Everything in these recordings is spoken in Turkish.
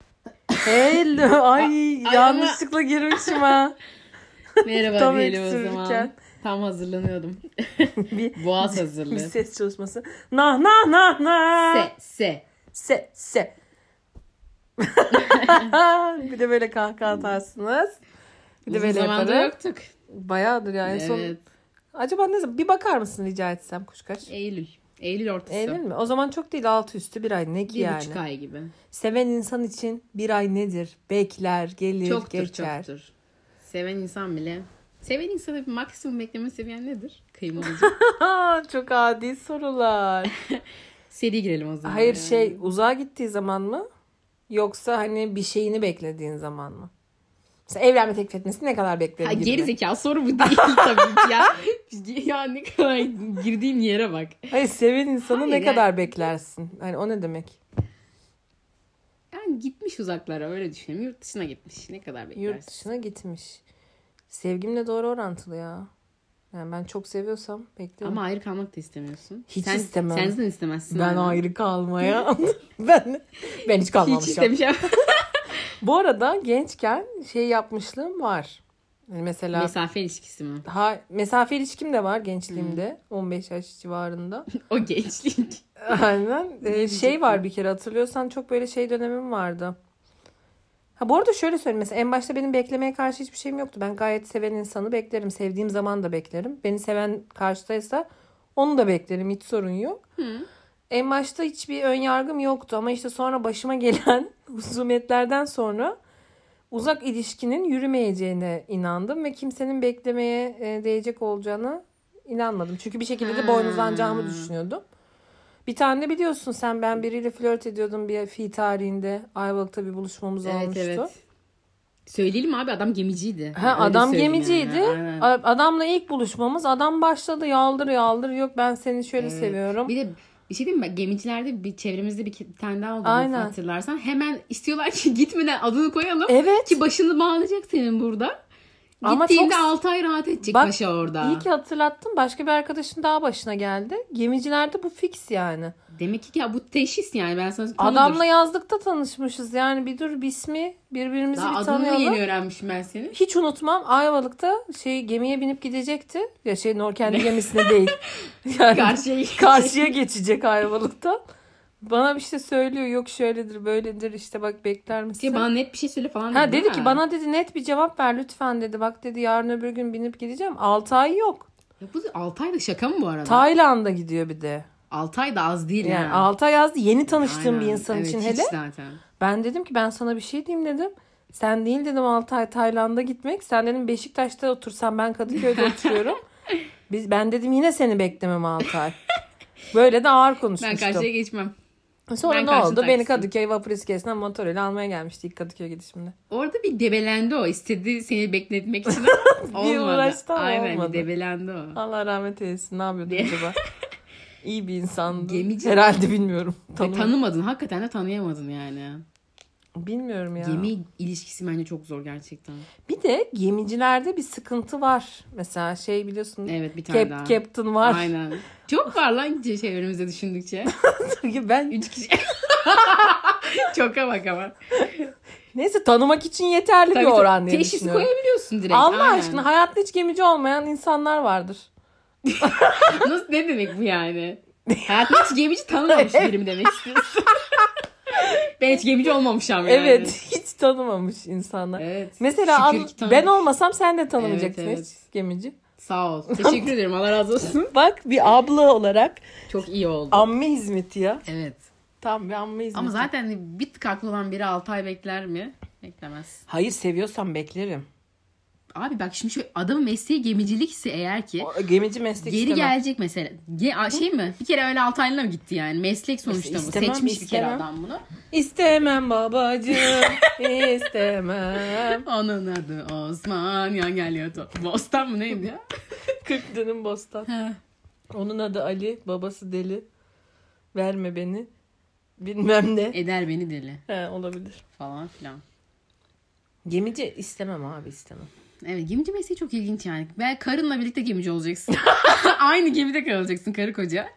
Hello. Ay ama- yanlışlıkla girmişim ha. Merhaba Tam diyelim o öksürürken. zaman. Tam hazırlanıyordum. Bir, Boğaz bir hazırlığı. ses çalışması. Nah nah nah nah. Se, se. Se se. bir de böyle kahkaha atarsınız. Bir de Uzun böyle zamanda yaparım. yoktuk. Bayağıdır yani. evet. Son... Acaba ne zaman? Bir bakar mısın rica etsem kuşkaş? Eylül. Eylül ortası. Eylül mi? O zaman çok değil altı üstü bir ay ne ki Bir yani. buçuk ay gibi. Seven insan için bir ay nedir? Bekler, gelir, çoktur geçer. çoktur. Seven insan bile. Seven insanı bir maksimum bekleme seviyen nedir? Kıymalıcı. Aa, çok adi sorular. Seri girelim o zaman. Hayır yani. şey uzağa gittiği zaman mı? Yoksa hani bir şeyini beklediğin zaman mı? Mesela evlenme teklif etmesi ne kadar beklerim Ha, gibi. geri zekalı soru bu değil tabii ki ya. ya ne kadar girdiğin yere bak. Hayır seven insanı Hayır, ne yani- kadar beklersin? Hani o ne demek? Yani gitmiş uzaklara öyle düşünelim. Yurt dışına gitmiş. Ne kadar beklersin? Yurt dışına gitmiş. Sevgimle doğru orantılı ya. Yani ben çok seviyorsam bekliyorum. Ama ayrı kalmak da istemiyorsun. Hiç Sen, istemem. Sen de istemezsin. ben aynen. ayrı kalmaya ben ben hiç Hiç kalmamışım. istemeyeceğim. Bu arada gençken şey yapmışlığım var. Yani Mesela Mesafe ilişkisi mi? ha, mesafe ilişkim de var gençliğimde. Hmm. 15 yaş civarında. O gençlik. Aynen. Ee, şey diyecektim? var bir kere hatırlıyorsan çok böyle şey dönemim vardı. Ha bu arada şöyle söyleyeyim. Mesela en başta benim beklemeye karşı hiçbir şeyim yoktu. Ben gayet seven insanı beklerim. Sevdiğim zaman da beklerim. Beni seven karşıdaysa onu da beklerim. Hiç sorun yok. Hı. En başta hiçbir ön yargım yoktu ama işte sonra başıma gelen husumetlerden sonra uzak ilişkinin yürümeyeceğine inandım ve kimsenin beklemeye e, değecek olacağına inanmadım. Çünkü bir şekilde de Ha. Hmm. boynuzlanacağımı düşünüyordum. Bir tane de biliyorsun sen ben biriyle flört ediyordum bir fi tarihinde Ayvalık'ta bir buluşmamız Evet olmuştu. evet. Söyleyelim abi adam gemiciydi. Ha, Yani öyle adam söyleyeyim gemiciydi. yani, aynen. A- Adamla ilk buluşmamız adam başladı yaldır yaldır yok ben seni şöyle Evet. seviyorum. Bir de bir şey diyeyim mi? Gemicilerde bir çevremizde bir ke- tane daha oldu. Aynen. Hatırlarsan hemen istiyorlar ki gitmeden adını koyalım. Evet. Ki başını bağlayacak senin burada. Ama Gittiğinde çok- 6 ay rahat edecek Bak, paşa orada. İyi ki hatırlattın. Başka bir arkadaşın daha başına geldi. Gemicilerde bu fix yani. Demek ki ya bu teşhis yani ben sana tanıdım. Adamla yazlıkta tanışmışız. Yani bir dur bir ismi birbirimizi Daha bir adını tanıyalım. yeni öğrenmişim ben senin. Hiç unutmam Ayvalık'ta şey gemiye binip gidecekti. Ya şey Nor kendi gemisine değil. Yani Karşıya gidecek. karşıya geçecek Ayvalık'tan. Bana bir şey söylüyor. Yok şöyledir böyledir işte bak bekler misin? Şey, bana net bir şey söyle falan Ha değil dedi mi? ki bana dedi net bir cevap ver lütfen dedi. Bak dedi yarın öbür gün binip gideceğim. 6 ay yok. Ya bu 6 aylık şaka mı bu arada? Tayland'a gidiyor bir de. 6 ay da az değil Yani yani. 6 ay yazdı yeni tanıştığım bir Aynen. insan Evet, için hiç hele. zaten. Ben dedim ki ben sana bir şey diyeyim dedim. Sen değil dedim 6 ay Tayland'a gitmek. Sen dedim Beşiktaş'ta otursan ben Kadıköy'de oturuyorum. Biz, ben dedim yine seni beklemem 6 ay. Böyle de ağır Ben konuşmuştum. karşıya geçmem. Sonra ben ne karşı oldu? Beni taksiyim. Kadıköy vapur iskelesinden motoruyla almaya gelmişti ilk Kadıköy gidişimde. Orada bir debelendi o. İstedi seni bekletmek için. olmadı. uğraştı ama Aynen olmadı. bir debelendi o. Allah rahmet eylesin. Ne yapıyordu Diye. acaba? İyi bir insandı. Gemici. Herhalde bilmiyorum. Ve Tanım- tanımadın. Hakikaten de tanıyamadın yani. bilmiyorum ya. Gemi ilişkisi bence çok zor gerçekten. Bir de gemicilerde bir sıkıntı var. Mesela şey biliyorsun Evet bir tane Cap- daha. Captain var. Aynen. Çok var lan çevremizde düşündükçe. Çünkü ben Üç kişi. Çoka bak ama. neyse tanımak için yeterli bir Tabii oran tabii diye teşhis düşünüyorum. koyabiliyorsun direkt. Allah aynen. aşkına hayatta hiç gemici olmayan insanlar vardır. Nasıl, ne demek bu yani? Hayatımda hiç gemici tanımamış birim demek istiyorsun. ben hiç gemici olmamışam yani. Evet hiç tanımamış insanlar. Evet. Mesela Şükür al- ki tanı- ben olmasam sen de tanımayacaksın Evet, hiç gemici. Sağ ol. Teşekkür ederim. Allah razı olsun. Bak bir abla olarak Çok iyi oldu. amme hizmeti ya. Evet. Tam bir amme hizmeti. Ama zaten bir tık haklı olan biri 6 ay bekler mi? Beklemez. Hayır seviyorsam beklerim. Abi bak şimdi şu adamın mesleği gemicilikse eğer ki O- Gemici meslek geri istemem. gelecek mesela. Ge- a- şey mi? Bir kere öyle 6 aylığına mı gitti yani? Meslek sonuçta bu. İstemem, Seçmiş bir kere istemem. adam bunu. İstemem babacığım istemem. Onun adı Osman yan geliyor top. Bostan mı neydi ya? Kırk dönüm bostan. Ha. Onun adı Ali, babası deli. Verme beni. Bilmem ne. Eder beni deli He, olabilir. falan filan. Gemici istemem abi istemem. Evet gemici mesleği çok ilginç yani. Ben karınla birlikte gemici olacaksın. Aynı gemide kalacaksın karı koca.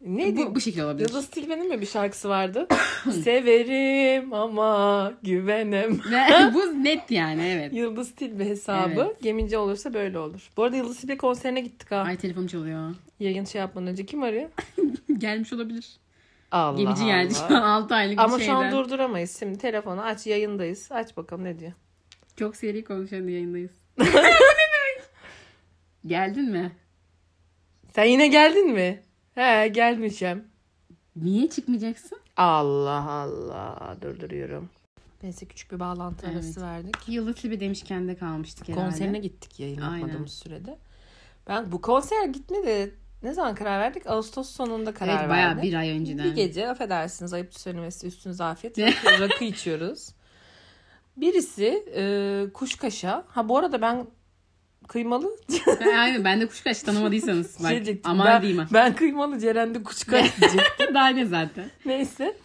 Neydi? Bu, bu şekilde olabilir. Yıldız Tilbe'nin mi bir şarkısı vardı? Severim ama güvenem. bu net yani evet. Yıldız Tilbe hesabı. Evet. Gemince olursa böyle olur. Bu arada Yıldız Tilbe konserine gittik ha. Ay telefonum çalıyor. Yayın şey yapmadan önce kim arıyor? Gelmiş olabilir. Allah Gemici geldi şu an Allah. 6 aylık bir Ama şu şeyden. an durduramayız. Şimdi telefonu aç yayındayız. Aç bakalım ne diyor. Çok seri konuşan yayındayız. Bu ne demek? Geldin mi? Sen yine geldin mi? He gelmişim. Niye çıkmayacaksın? Allah Allah durduruyorum. Neyse küçük bir bağlantı Evet. arası verdik. Yıldız Tilbe demiş kendi kalmıştık herhalde. Konserine gittik yayın Aynen. yapmadığımız sürede. Ben bu konser gitme de ne zaman karar verdik? Ağustos sonunda karar Evet verdik. bayağı bir ay önceden. Bir gece affedersiniz ayıp söylemesi üstünüze afiyet. rakı içiyoruz. Birisi e, kuşkaşa. Ha bu arada ben kıymalı Aynen ben de kuşkaş tanımadıysanız bak. şey diyecektim. aman ben, diyeyim ha. ben kıymalı Ceren'de kuşkaş diyecektim. Daha ne zaten. Neyse.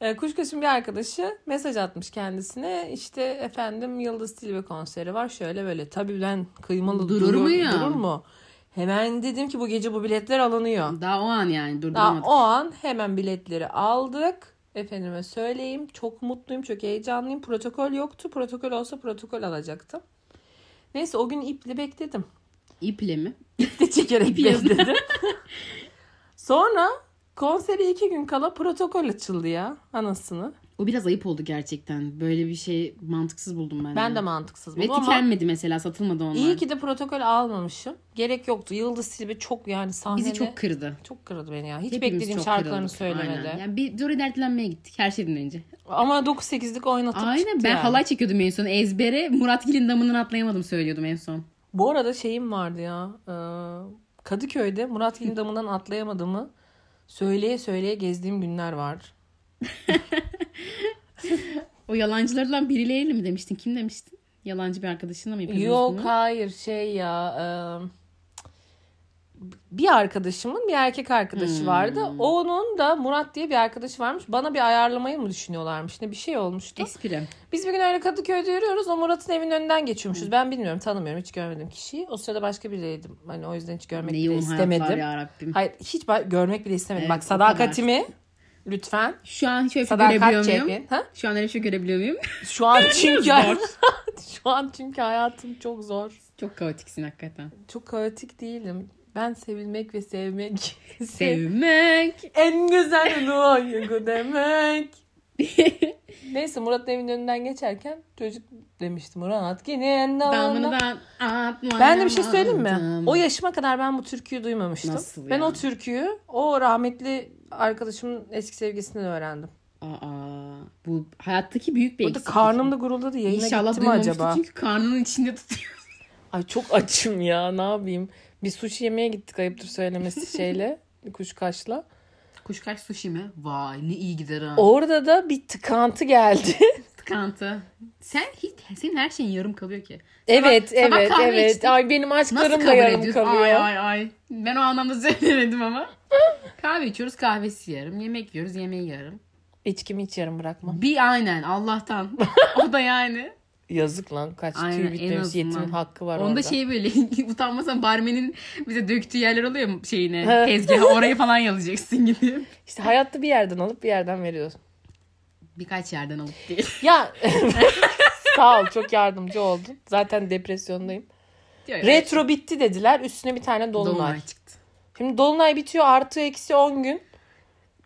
E, Kuşkaş'ın bir arkadaşı mesaj atmış kendisine. İşte efendim Yıldız Tilbe konseri var. Şöyle böyle. Tabii ben kıymalı Durur durur, durur mu mu? ya? Hemen dedim ki bu gece bu biletler alınıyor. Daha o an yani Daha durduramadık. o an hemen biletleri aldık. Efendime söyleyeyim. Çok mutluyum, çok heyecanlıyım. Protokol yoktu. Protokol olsa protokol alacaktım. Neyse o gün iple bekledim İple mi? de çekerek İpi yazın. bekledim. Sonra konseri iki gün kala protokol açıldı ya anasını. O biraz ayıp oldu gerçekten. Böyle bir şey mantıksız buldum ben. Ben de mantıksız Ve buldum ama tükenmedi mesela satılmadı onlar. iyi ki de protokol almamışım. Gerek yoktu. Yıldız Silbe çok yani sahnede Bizi çok, çok kırdı. kırdı beni ya. Hiç Hepimiz beklediğim çok şarkılarını kırıldık. söylemedi. Aynen. Yani bir doğru dertlenmeye gittik her şeyden önce. Ama 9-8'lik oynatıp Aynen çıktı ben yani. halay çekiyordum en son. Ezbere Murat Gil'in damından atlayamadım söylüyordum en son. Bu arada şeyim vardı ya. e, Kadıköy'de Murat Gildam'dan atlayamadığımı söyleye söyleye gezdiğim günler var. O yalancılardan birileriyle mi demiştin? Kim demiştin? Yalancı bir arkadaşınla mı yapıyordunuz Yok bunu? hayır şey ya e, bir arkadaşımın bir erkek arkadaşı vardı. Onun da Murat diye bir arkadaşı varmış. Bana bir ayarlamayı mı düşünüyorlarmış ne bir şey olmuştu. Espri. Biz bir gün öyle Kadıköy'de yürüyoruz. O Murat'ın evinin önünden geçiyormuşuz. Ben bilmiyorum tanımıyorum hiç görmedim kişiyi. O sırada başka biriydim. Hani o yüzden hiç görmek Ne bile yoğun hayatlar istemedim. ya Rabbim. Hayır hiç ba- görmek bile istemedim. Evet, Bak o sadakatimi lütfen. Şu an şöyle bir şey Sadakat görebiliyor muyum? çekin. Ha? Şu an öyle bir şey görebiliyor muyum? Şu an çünkü Zor. şu an çünkü hayatım çok zor. Çok kaotiksin hakikaten. Çok kaotik değilim. Ben sevilmek ve sevmek. Sevmek. en güzel duygu demek. Neyse Murat'ın evinin önünden geçerken çocuk demişti Murat gelin damına. Damından atma. Ben de bir şey söyleyeyim mi? Damından. O yaşıma kadar ben bu türküyü duymamıştım. Nasıl ben ya? o türküyü o rahmetli arkadaşımın eski sevgisinden öğrendim. Aa, bu hayattaki büyük bir Burada eksiklik. karnım da guruldadı. Yayına İnşallah gitti mi duymamıştır acaba? çünkü karnının içinde tutuyor. Ay çok açım ya ne yapayım. Bir sushi yemeye gittik ayıptır söylemesi şeyle. Kuşkaşla. Kuşkaş sushi mi? Vay ne iyi gider ha. Orada da bir tıkantı geldi. Tıkantı. Sen hiç, senin her şeyin yarım kalıyor ki. Evet sabah evet kahve evet. içtik. Ay benim Nasıl aşklarım da kabul yarım ediyorsun? kalıyor. Ay ay ay. Ben o anlamda söylemedim ama. Kahve içiyoruz kahvesi yarım. Yemek yiyoruz yemeği yarım. İçkimi hiç yarım bırakmam. Bir aynen Allah'tan. o da yani. Yazık lan kaç Aynen, en tüy bitmemiş azından. yetimin hakkı var Onda orada. şey böyle utanmasan barmenin bize döktüğü yerler oluyor mu şeyine Evet. tezgaha oraya falan yalayacaksın gidip. İşte hayatta bir yerden alıp bir yerden veriyorsun. Birkaç yerden alıp değil. Ya sağ ol çok yardımcı oldun. Zaten depresyondayım. Diyor, Retro bitti dediler üstüne bir tane dolunay. çıktı. Şimdi dolunay bitiyor artı eksi 10 gün.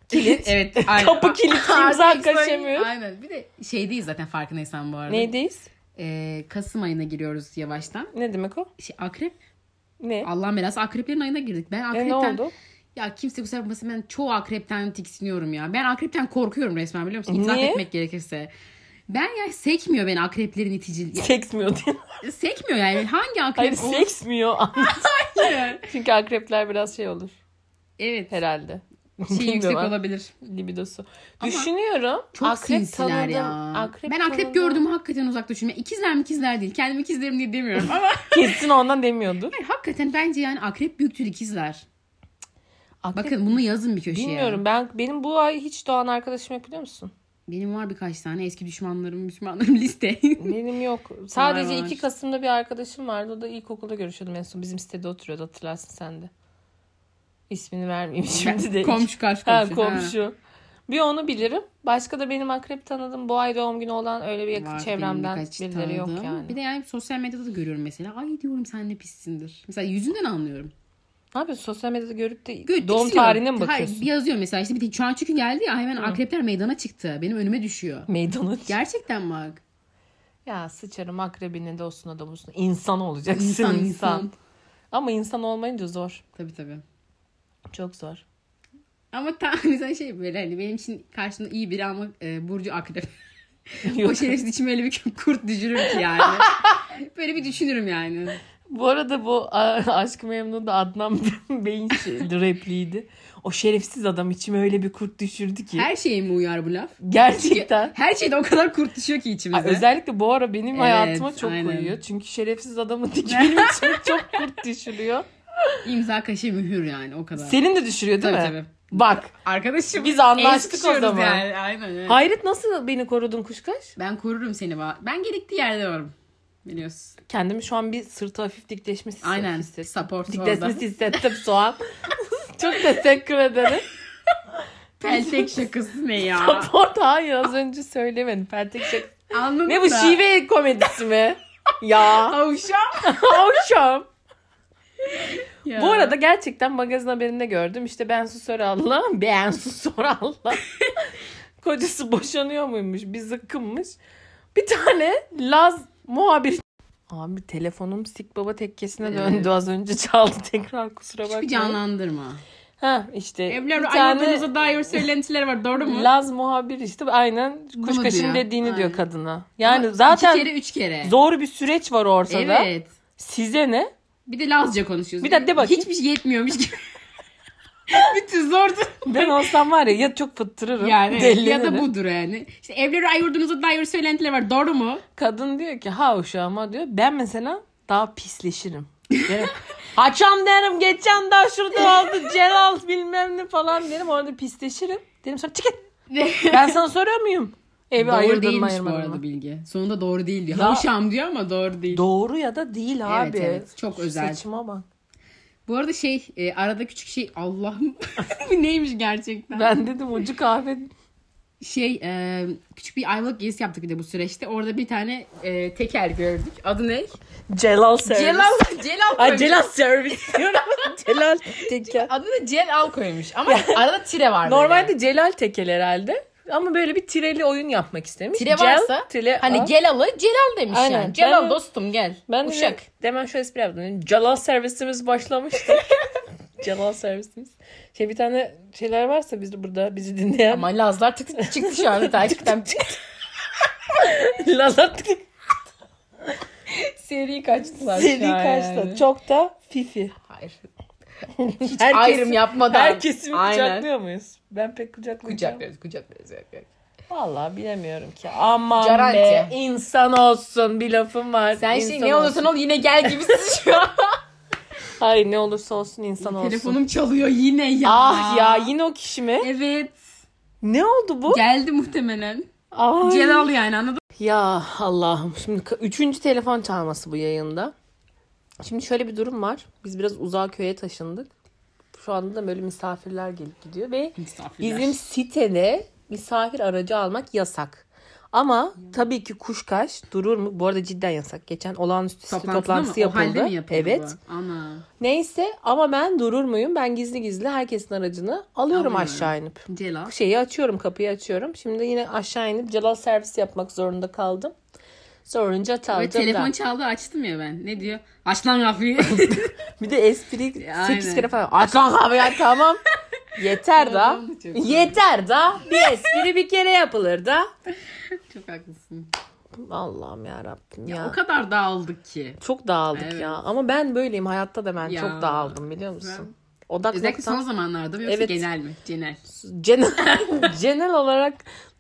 Kilit. evet. Aynen. Kapı kilitli, Artık imza sayı- kaçamıyor. Aynen. Bir de şeydeyiz zaten farkındaysan bu arada. Neydeyiz? Ee, Kasım ayına giriyoruz yavaştan. Ne demek o? Şey, akrep. Ne? Allah'ın belası akreplerin ayına girdik. Ben E, akrepten... ne oldu? Ya kimse kusura bakmasın ben çoğu akrepten tiksiniyorum ya. Ben akrepten korkuyorum resmen biliyor musun? İtiraf Niye? etmek gerekirse. Ben ya sekmiyor beni akreplerin itici. Seksmiyor değil mi? Ya, sekmiyor yani. Hangi akrep? Hayır o- seksmiyor. Hayır. Çünkü akrepler biraz şey olur Evet. herhalde. Şey Bilmiyorum yüksek ha. olabilir. libidosu. Ama Düşünüyorum. Çok sinsiler tanıdım. ya. Akrep ben akrep tanıdım. gördüm hakikaten uzak düşün. Ya İkizler mi ikizler değil. Kendimi ikizlerim diye demiyorum ama. Kesin ondan demiyordur. Hayır, hakikaten bence yani akrep büyüktür ikizler. Akrep, Bakın bunu yazın bir şey köşeye. bilmiyorum. Ben benim bu ay hiç doğan arkadaşım yok biliyor musun? Benim var birkaç tane eski düşmanlarım, düşmanlarım liste. Benim yok. Sadece var. 2 Kasım'da bir arkadaşım vardı. O da ilkokulda görüşüyordum en son. Bizim sitede oturuyordu hatırlarsın sen de. İsmini vermeyeyim şimdi de. Komşu karşı Ha, komşu. komşu. Bir onu bilirim. Başka da benim akrep tanıdığım bu ay doğum günü olan öyle bir yakın Var, çevremden benim birkaç birileri yok tanıdığım. yani. Bir de yani sosyal medyada da görüyorum mesela. Ay diyorum sen ne pissindir. Mesela yüzünden anlıyorum. Ne yapıyorsun? Sosyal medyada görüp de Gö- doğum tiksiniyorum. tarihine mi bakıyorsun? Hayır, yazıyor mesela işte bir de şu an çünkü geldi ya hemen akrepler meydana çıktı. Benim önüme düşüyor. Meydana çık. Gerçekten bak. Ya sıçarım akrebine dostuna domuzuna. İnsan olacaksın İnsan insan. insan. Ama insan olmayınca zor. Tabii tabii. Çok zor. Ama tam mesela şey böyle hani benim için karşımda iyi biri ama e, Burcu akrep. o Yok. şerefsiz içime öyle bir kurt düşürür ki yani. böyle bir düşünürüm yani. Bu arada bu a- Aşk Memnu'da Adnan Bey'in şey- repliğiydi. O şerefsiz adam içime öyle bir kurt düşürdü ki. Her şeye mi uyar bu laf? Gerçekten. Her şeyde o kadar kurt düşüyor ki Ay, içimize. özellikle bu ara benim Evet, hayatıma çok aynen. koyuyor. Çünkü şerefsiz adamın dikmeni için çok kurt düşürüyor. İmza kaşe mühür yani o kadar. Senin de düşürüyor değil Tabii mi? tabii. Bak Arkadaşım Biz anlaştık el sıkışıyoruz o zaman. Yani. Aynen öyle. Hayret nasıl beni korudun kuşkaş? Ben korurum seni. va- Ben gerektiği yerde varım. Biliyorsun. Kendimi şu an bir sırtı hafif dikleşmesi hissettim. Aynen. Support orada. Dikleşmesi hissettim soğan. Çok teşekkür ederim. Peltek şey. şakası ne ya? Support hayır az önce söylemedim. Peltek şak- Anladın Ne bu da. şive komedisi mi? ya. Tavşan. Hoşum. Ya. Bu arada gerçekten magazin haberinde gördüm. İşte Bensu Soral'la Bensu Soral'la kocası boşanıyor muymuş? Bir zıkkınmış. Bir tane Laz muhabir Abi telefonum sik baba tekkesine Evet. döndü az önce çaldı tekrar kusura bakma. Hiçbir canlandırma. Ha işte Evler E, bir tane ayrıldığınıza dair söylentiler var doğru mu? Laz muhabir işte aynen Bunu diyor. kuşkaşın dediğini diyor Aynen. kadına. Yani Ama zaten iki kere üç kere. zor bir süreç var ortada. Evet. Size ne? Bir de Lazca konuşuyoruz. Bir de- de bakayım. Hiçbir şey yetmiyormuş gibi. Bütün zordu. Ben olsam var ya ya çok fıttırırım. Yani evet, ya da delilenirim. budur yani. İşte evleri ayırdığınıza dair söylentiler var doğru mu? Kadın diyor ki ha uşağıma diyor. Ben mesela daha pisleşirim. Derim, Haçam derim geçen daha şurada oldu Celal bilmem ne falan derim. Orada pisleşirim. Derim sonra çık git. Ben sana soruyor muyum? Evi doğru ayırdın mı değilmiş bu ayırmadın arada mı? bilgi. Sonunda doğru değil diyor. Ya- Havşam diyor ama doğru değil. Doğru ya da değil abi. evet, çok özel. Saçıma bak. bu arada şey e, arada küçük şey Allah'ım bu neymiş gerçekten? Ben dedim ucu kahve Şey e, küçük bir ayvalık gezisi yaptık bir de bu süreçte. Orada bir tane e, teker gördük. Adı ne? Celal servis. Celal. Celal Ay koymuş. Celal servis diyorum. Celal teker. Adını Celal koymuş ama arada tire var. böyle. Normalde Celal tekel herhalde. Ama böyle bir tireli oyun yapmak istemiş. Tire Cel, varsa, tire, Hani al. Celal'ı Celal demiş Aynen. yani. Celal Ben- dostum gel. Ben de Uşak. Demen şöyle espri yaptım. Celal servisimiz başlamıştı. Celal servisimiz. Şey bir tane şeyler varsa biz burada bizi dinleyen. Ama Lazlar tık tık çıktı şu anda takipten. Lalat Seri kaçtılar seri şu an kaçtı. yani. Çok da fifi. Hayır. Hiç Ayrım yapmadan. Herkesi mi Aynen. kucaklıyor muyuz? Ben pek kucaklayacağım. Kucaklıyoruz, kucaklıyoruz. kucaklıyoruz. Vallahi bilemiyorum ki. Aman Garanti. be insan olsun bir lafım var. Sen İnsan şey ne olursan ol yine gel gibisin şu an. Hayır ne olursa olsun insan olsun. Telefonum çalıyor yine ya. Ah ya yine o kişi mi? Evet. Ne oldu bu? Geldi muhtemelen. Ay. Celal yani anladın Ya Allah'ım şimdi ka- üçüncü telefon çalması bu yayında. Şimdi şöyle bir durum var. Biz biraz uzağa köye taşındık. Şu anda da böyle misafirler gelip gidiyor ve Misafirler. bizim sitede misafir aracı almak yasak. Ama tabii ki kuşkaş durur mu? Bu arada cidden yasak. Geçen olağanüstü site toplantısı yapıldı. evet. Ana. Neyse ama ben durur muyum? Ben gizli gizli herkesin aracını alıyorum Alıyorum. aşağı inip. Celal. Şeyi açıyorum kapıyı açıyorum. Şimdi yine aşağı inip Celal servis yapmak zorunda kaldım. Sorunca Ve çaldım telefon da. çaldı açtım ya ben. Ne diyor? Aç lan Rafi. Bir de espri Aynen. 8 kere falan. Aç lan kahveyi aç, tamam. Yeter da. Tamam, çok iyi. Yeter da. Bir espri bir kere yapılır da. Çok haklısın. Allah'ım yarabbim ya. O kadar dağıldık ki. Çok dağıldık Evet. ya. Ama ben böyleyim. Hayatta da ben Ya. çok dağıldım biliyor musun? Odak Özellikle noktam- son zamanlarda mı yoksa Evet. genel mi? Genel. Genel, genel olarak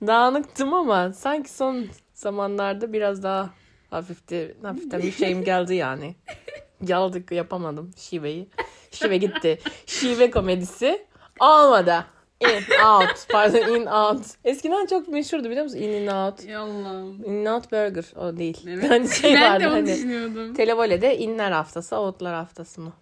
dağınıktım ama sanki son zamanlarda biraz daha hafifti, hafiften bir şeyim geldi yani. Yaldık yapamadım şiveyi. Şive gitti. Şive komedisi olmadı. In out. Pardon in out. Eskiden çok meşhurdu biliyor musun? In in out. Allah'ım. In out burger. O değil. Evet. Hani şey ben vardı de onu hani. düşünüyordum. Televole'de inler haftası, outlar haftası mı?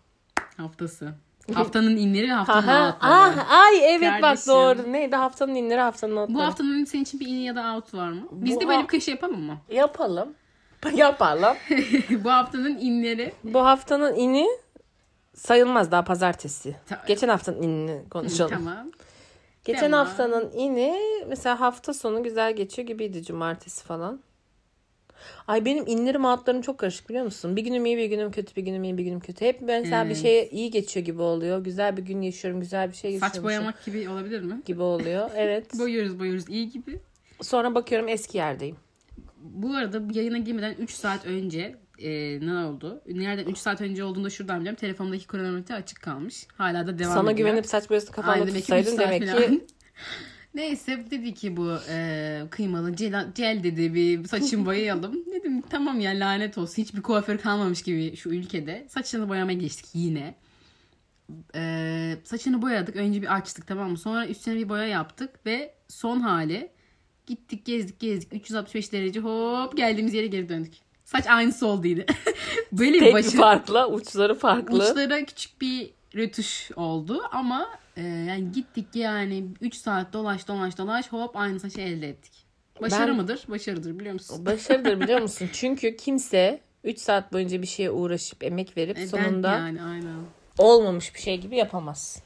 Haftası. Haftanın inleri ve haftanın Aha, outları. ah, ay evet bak Kardeşim. doğru. Neydi haftanın inleri haftanın Bu notları. haftanın senin için bir in ya da out var mı? Biz Bu de böyle ha- bir köşe yapalım mı? Yapalım. Yapalım. Bu haftanın inleri. Bu haftanın ini sayılmaz daha pazartesi. Ta- Geçen haftanın inini konuşalım. Tamam. Geçen Tamam. haftanın ini mesela hafta sonu güzel geçiyor gibiydi cumartesi falan. Ay benim inlerim altlarım çok karışık biliyor musun? Bir günüm iyi bir günüm kötü bir günüm iyi bir günüm kötü. Hep mesela bir Evet. şeye iyi geçiyor gibi oluyor. Güzel bir gün yaşıyorum güzel bir şey yaşıyorum. Saç boyamak gibi olabilir mi? gibi oluyor. Evet. Boyuyoruz boyuyoruz iyi gibi. Sonra bakıyorum eski yerdeyim. Bu arada bu yayına girmeden 3 saat önce e, ne oldu? Nereden 3 saat önce olduğunda şuradan biliyorum. Telefonumdaki kronometre açık kalmış. Hala da devam ediyor. Sana güvenip saç boyası kafamda Aynı demek ki tutsaydın üç saat demek ki falan. Neyse dedi ki bu e, kıymalı cel, cel dedi bir saçımı boyayalım. Dedim tamam ya lanet olsun hiçbir kuaför kalmamış gibi şu ülkede. Saçını boyamaya geçtik yine. E, saçını boyadık önce bir açtık tamam mı? Sonra üstüne bir boya yaptık ve son hali gittik gezdik gezdik 365 derece hop geldiğimiz yere geri döndük. Saç aynısı olduydu. Böyle bir tek başı- bir farkla uçları farklı. Uçlara küçük bir rötuş oldu ama e, yani gittik yani 3 saat dolaş dolaş dolaş hop aynı saçı elde ettik. Başarı Ben- mıdır? Başarıdır biliyor musun? Başarıdır biliyor musun? Çünkü kimse 3 saat boyunca bir şeye uğraşıp emek verip E, ben sonunda yani aynen. olmamış bir şey gibi yapamaz.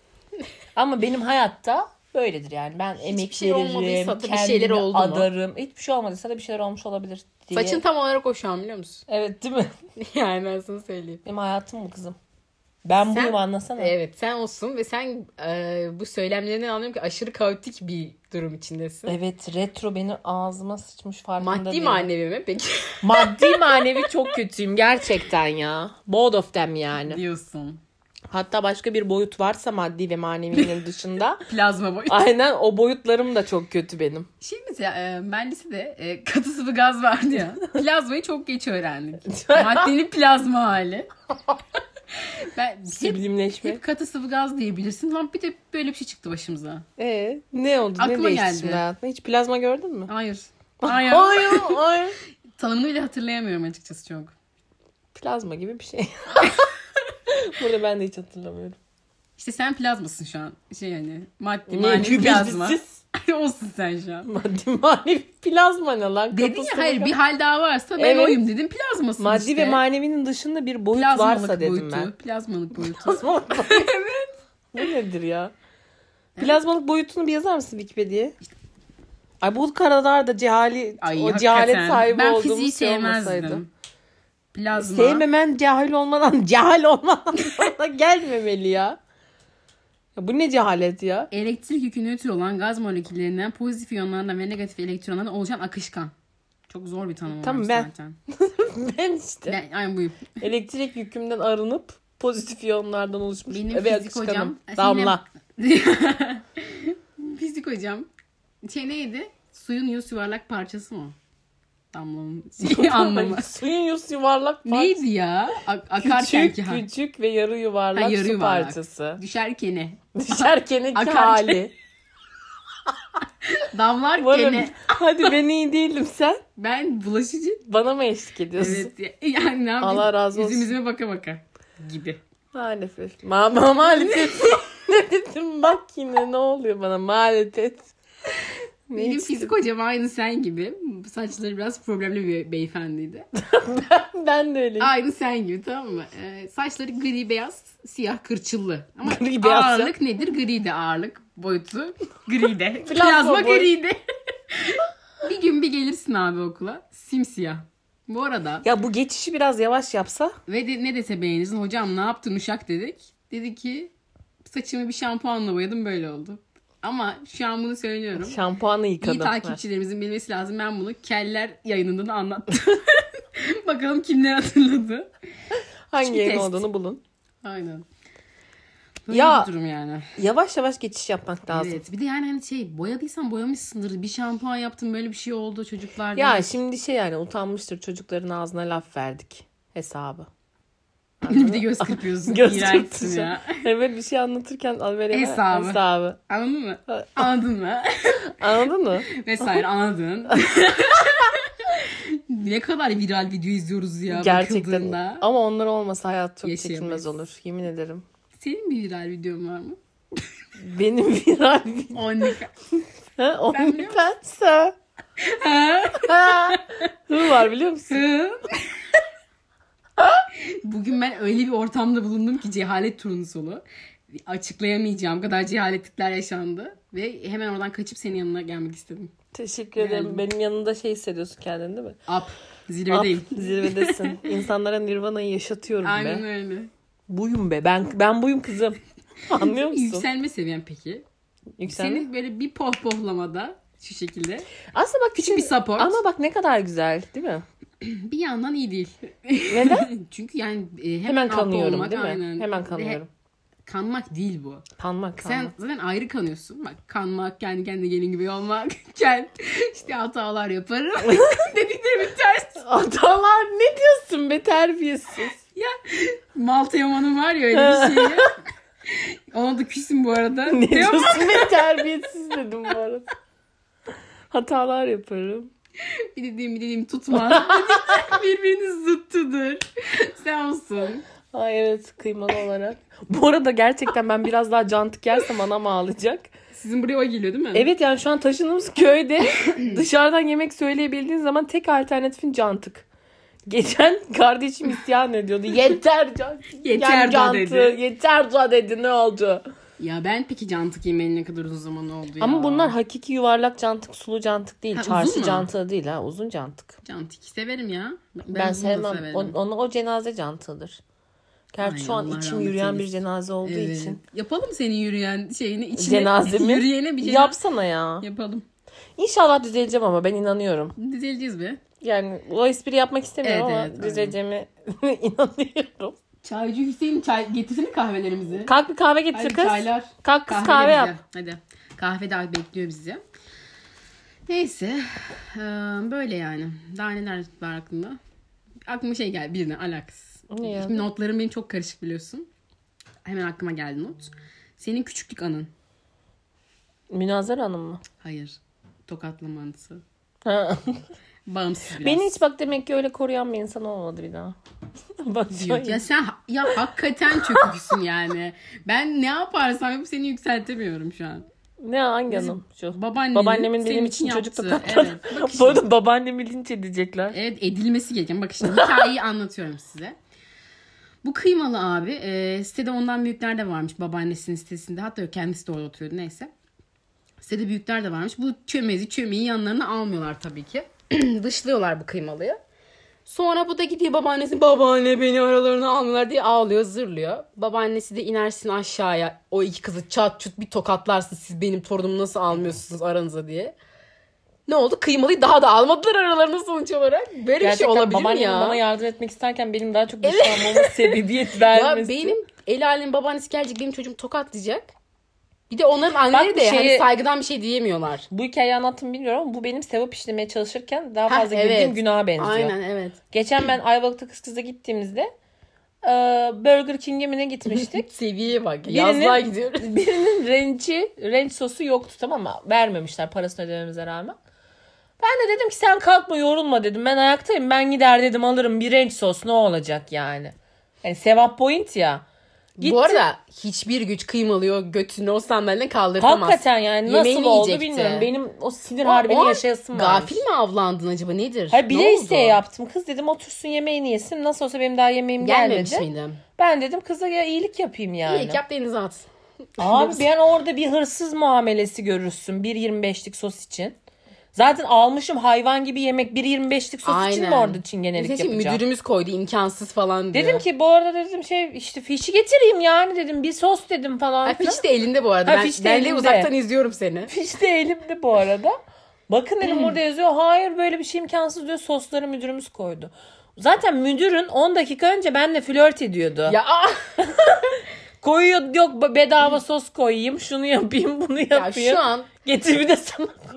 Ama benim hayatta böyledir yani. Ben emek şey veririm, olmadıysa da bir kendimi şeyler oldu mu? adarım. Hiçbir şey olmadıysa da bir şeyler olmuş olabilir diye. Saçın tam olarak o şu an biliyor musun? Evet değil mi? yani ben sana söyleyeyim. Benim hayatım bu kızım. Ben Sen- buyum anlasana. Evet sen olsun ve sen e, bu söylemlerinden anlıyorum ki aşırı kaotik bir durum içindesin. Evet retro beni ağzıma sıçmış farkında değilim. mi peki? Maddi manevi çok kötüyüm gerçekten ya. Both of them yani. Diyorsun. Hatta başka bir boyut varsa maddi ve manevinin dışında. Plazma boyu. Aynen o boyutlarım da çok kötü benim. Şey mesela e, ben lisede e, katı sıvı gaz vardı ya. Plazmayı çok geç öğrendik. Maddenin plazma hali. ben hep, Sublimleşme. hep katı sıvı gaz diyebilirsin. Lan bir de böyle bir şey çıktı başımıza. Ee, ne oldu? ne e, Aklıma değişti geldi. şimdi hayatında? Hiç plazma gördün mü? Hayır. Ay Hayır. ay. Tanımını bile hatırlayamıyorum açıkçası çok. Plazma gibi bir şey. Burada ben de hiç hatırlamıyorum. İşte sen plazmasın şu an. Şey yani maddi Ne, manevi gübecisiz? plazma. Olsun sen şu an. Maddi manevi plazma ne lan? Dedin Kafasına ya hayır bak- bir hal daha varsa ben Evet. oyum dedim plazmasın Maddi işte. ve manevinin dışında bir boyut Plazmalık varsa dedim boyutu, ben. Plazmalık boyutu. Plazmalık boyutu. Bu nedir ya? Plazmalık boyutunu bir yazar mısın Wikipedia'ya? Ay bu kadar da cehali, Ay, o hakikaten. cehalet sahibi ben olduğumuz fiziği şey olmasaydı. sevmezdim. Plazma. Sevmemen cahil olmadan cahil olmadan da gelmemeli ya. ya. Bu ne cehalet ya? Elektrik yükü nötr olan gaz moleküllerinden pozitif iyonlardan ve negatif elektronlardan oluşan akışkan. Çok zor bir tanım Tamam, olmuş ben. zaten. Ben işte Ben, ay buyum. elektrik yükümden arınıp pozitif iyonlardan oluşmuş. Benim eve fizik akışkanım. hocam. Damla. Fizik hocam. Şey neydi? Suyun yüz yuvarlak parçası mı? Damlanın şeyi anlamı. Suyun yüz yuvarlak parçası. neydi ya? A- akarken Küçük ki hal. küçük ve yarı yuvarlak Ha, yarı su yuvarlak. parçası. Düşerkeni. Düşerkeneki Akarken. hali. şey. Damlarkeni. Varım. Hadi ben iyi değilim sen. Ben bulaşıcı Bana mı eşlik ediyorsun? Evet ya- E, yani ne yapayım? Allah razı olsun. Yüzüm yüzüme baka baka gibi. Maalesef. Ma ma- maalesef. ne dedim bak yine ne oluyor bana maalesef. Benim Neyse. fizik hocam aynı sen gibi. Saçları biraz problemli bir beyefendiydi. Ben de öyleyim. aynı sen gibi tamam mı? Ee, saçları gri beyaz, siyah kırçıllı. Ama Gri beyaz ya. ağırlık nedir? Gri de ağırlık boyutu. Gri de. Plazma Plazma boy. gri de. bir gün bir gelirsin abi okula. Simsiyah. Bu arada Ya bu geçişi biraz yavaş yapsa. Ve de, ne dese beğenirsin hocam ne yaptın uşak dedik. Dedi ki saçımı bir şampuanla boyadım böyle oldu. Ama şu an bunu söylüyorum. Şampuanı yıkadım. İyi takipçilerimizin bilmesi lazım. Ben bunu keller yayınından anlattım. Bakalım kimler hatırladı. Hangi Çünkü yayın test. olduğunu bulun. Aynen. Böyle Ya- bir durum yani. Yavaş yavaş geçiş yapmak lazım. Evet. Bir de yani hani şey boyadıysan boyamışsındır. Bir şampuan yaptım böyle bir şey oldu çocuklar. Ya şimdi şey yani utanmıştır çocukların ağzına laf verdik hesabı. bir de göz kırpıyorsun. Göz İğrençsin ya. Evet bir şey anlatırken al vereyim. Hesabı. hesabı. Anladın mı? Anladın mı? Anladın mı? vesaire anladın. ne kadar viral video izliyoruz ya Gerçekten. bakıldığında. Ama onlar olmasa hayat çok Yaşayamayız. çekilmez olur. Yemin ederim. Senin bir viral videon var mı? Benim viral bir... Onlika. Ha, Sen biliyor OnlyFans ha. Ha. Hı var biliyor musun? Bugün ben öyle bir ortamda bulundum ki cehalet turnusolu. Açıklayamayacağım kadar cehaletlikler yaşandı. Ve hemen oradan kaçıp senin yanına gelmek istedim. Teşekkür ederim. Benim yanında şey hissediyorsun kendini değil mi? Up. Zirvedeyim. Up, zirvedesin. İnsanlara Nirvana'yı yaşatıyorum Aynen be. öyle. Buyum be. Ben ben buyum kızım. Anlıyor musun? Yükselme seviyen peki? Yükselme. Seni böyle bir pohpohlamada şu şekilde. Aslında bak Küçük bir support. Ama bak ne kadar güzel değil mi? Bir yandan iyi değil. Neden? Çünkü yani e, hemen, Hemen up kanıyorum olmak, değil mi? aynen. Hemen Ve kanıyorum. kanmak değil bu. Kanmak kanmak. Sen zaten ayrı kanıyorsun. Bak kanmak, kendi kendine gelin gibi olmak. Kend, işte hatalar yaparım. Dediklerim ters. Atalar ne diyorsun be terbiyesiz. Malta Yaman'ın var ya öyle bir şey. ya. Ona da küsüm bu arada. Ne Değil mi? diyorsun be terbiyesiz dedim bu arada. Hatalar yaparım. Bir dediğim bir dediğim tutmaz. Birbirinin zıttıdır. Sen olsun. Ay evet kıymalı olarak. Bu arada gerçekten ben biraz daha cantık yersem anam ağlayacak. Sizin buraya o geliyor değil mi? Evet yani şu an taşındığımız köyde dışarıdan yemek söyleyebildiğin zaman tek alternatifin cantık. Geçen kardeşim isyan ediyordu. Yeter can, Yeter yani da cantı, dedi. Yeter da dedi ne oldu? Ya ben peki cantık yemeğinin ne kadar uzun zaman oldu ya. Ama bunlar hakiki yuvarlak cantık, sulu cantık değil. Ha, uzun çarşı mu? cantığı değil ha, uzun cantık. Cantik severim ya. Ben, Ben, bunu da sevmem. severim. O, onu o cenaze cantığıdır. Gerçi Ay, şu an Allah içim rahmet yürüyen bir eylesin. cenaze olduğu Evet. için. Ee, Yapalım senin yürüyen şeyini içine. Cenazemi Yürüyene bir cenaze. yapsana ya. Yapalım. İnşallah düzeleceğim ama ben inanıyorum. Düzeleceğiz be. Yani Yani o espri yapmak istemiyorum Evet, ama evet, düzeleceğime inanıyorum. çaycı Hüseyin çay getirsene kahvelerimizi. Kalk bir kahve getir Hadi kız. çaylar. Kalk kız Kahve kahve, de yap. bize. Hadi. Kahve de bekliyor bizi. Neyse. Ee, böyle yani. Daha neler var aklında? Aklıma şey geldi. Birine alakasız. Ne ya? Şimdi notlarım benim çok karışık biliyorsun. Hemen aklıma geldi not. Senin küçüklük anın. Münazara Hanım mı? Hayır. Tokatlama anısı. Ha. Bağımsız biraz. Beni hiç bak demek ki öyle koruyan bir insan olmadı bir daha. bak şu an- Yok ya sen ya hakikaten çöküksün yani. Ben ne yaparsam yapıp seni yükseltemiyorum şu an. Ne hangi hanım? Şu. Babaannemin, Babaannemin senin benim için çocuk yaptığı. tokatladı. Evet. Bak Bu şimdi, arada babaannemi linç edecekler. evet edilmesi gereken. Bak şimdi hikayeyi anlatıyorum size. Bu kıymalı abi e, sitede ondan büyükler de varmış babaannesinin sitesinde. Hatta kendisi de orada oturuyordu neyse. Sitede büyükler de varmış. Bu çömezi çömeği yanlarına almıyorlar tabii ki. Dışlıyorlar bu kıymalıyı. Sonra bu da gidiyor babaannesi babaanne beni aralarına almıyorlar diye ağlıyor zırlıyor. Babaannesi de inersin aşağıya o iki kızı çat çut bir tokatlarsın siz benim torunumu nasıl almıyorsunuz aranıza diye. Ne oldu kıymalıyı daha da almadılar aralarına sonuç olarak. Böyle bir şey Gerçekten olabilir mi babaannemin ya? bana yardım etmek isterken benim daha çok dışlanmama sebebiyet vermesi. Ya benim el alemin babaannesi gelecek benim çocuğum tokatlayacak. Bir de onların Bak anneleri bir de hani şeyi- saygıdan bir şey diyemiyorlar. Bu hikayeyi anlattım bilmiyorum ama bu benim sevap işlemeye çalışırken daha Ha, fazla evet. girdiğim günaha benziyor. Aynen evet. Geçen ben Ayvalık'ta kız kıza gittiğimizde e, Burger King'e mi ne gitmiştik? Seviyeye bak. Birinin- Yazlığa gidiyoruz. Birinin renci, renç sosu yoktu tamam mı? Vermemişler parasını ödememize rağmen. Ben de dedim ki sen kalkma yorulma dedim. Ben ayaktayım ben gider dedim alırım bir renç sos ne olacak yani. Yani sevap point ya. Gitti. Bu arada hiçbir güç kıymalıyor götünü o sandalyeden kaldıramaz. Hakikaten yani nasıl Yemeğini oldu yiyecekti. bilmiyorum. Benim o sinir O- o harbini an yaşayasım var. Gafil mi avlandın acaba nedir? Hayır bile Ne oldu? isteye yaptım. Kız dedim otursun yemeğini yesin. Nasıl olsa benim daha yemeğim Gelmemiş gelmedi. miydim? Ben dedim kıza ya iyilik yapayım yani. İyilik yap denize at. Abi ben orada bir hırsız muamelesi görürsün 1.25'lik sos için. Zaten almışım hayvan gibi yemek 1.25'lik sos için mi Aynen. orada çingenelik Neyse, şimdi yapacağım? müdürümüz koydu imkansız falan diyor. Dedim ki bu arada dedim şey işte fişi getireyim yani dedim bir sos dedim falan. Ha, filan. fiş de elinde bu arada. Ha, ben, fiş de ben de elinde. uzaktan izliyorum seni. Fiş de elimde bu arada. Bakın dedim burada yazıyor hayır böyle bir şey imkansız diyor sosları müdürümüz koydu. Zaten müdürün 10 dakika önce benle flört ediyordu. Ya, ah! aa! Koyuyor yok bedava sos koyayım şunu yapayım bunu yapayım. ya şu an Getir bir de sana.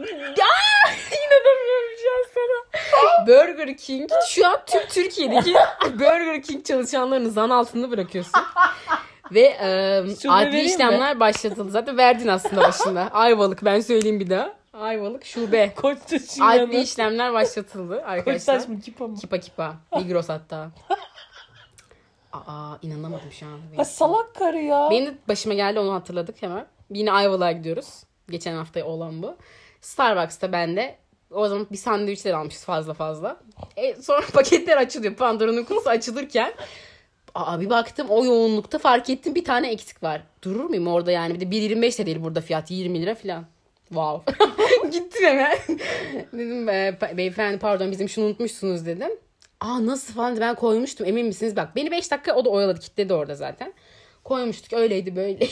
İnanamıyorum şu an sana. Burger King şu an tüm Türkiye'deki Burger King çalışanlarını zan altında bırakıyorsun. Ve e, Şunu adli vereyim mi? işlemler başlatıldı. Zaten verdin aslında başında. Ayvalık ben söyleyeyim bir daha. Ayvalık şube. Koçtaş Adli şey inanın. işlemler başlatıldı arkadaşlar. Koçtaş mı kipa mı? Kipa kipa. Migros hatta. Aa inanamadım şu an. Ha, salak karı ya. Benim de başıma geldi onu hatırladık hemen. Yine Ayvalık'a gidiyoruz. Geçen hafta olan bu. Starbucks'ta ben de o zaman bir sandviçler almışız fazla fazla. E, sonra paketler açılıyor. Pandora'nın kutusu açılırken. Aa bir baktım o yoğunlukta fark ettim bir tane eksik var. Durur muyum orada yani? Bir de 1.25 de değil burada fiyat 20 lira falan. Wow. Gittim hemen. dedim "Be- pa- beyefendi pardon bizim şunu unutmuşsunuz dedim. Aa nasıl falan dedi. ben koymuştum emin misiniz? Bak beni 5 dakika o da oyaladı kilitledi orada zaten. Koymuştuk öyleydi böyleydi.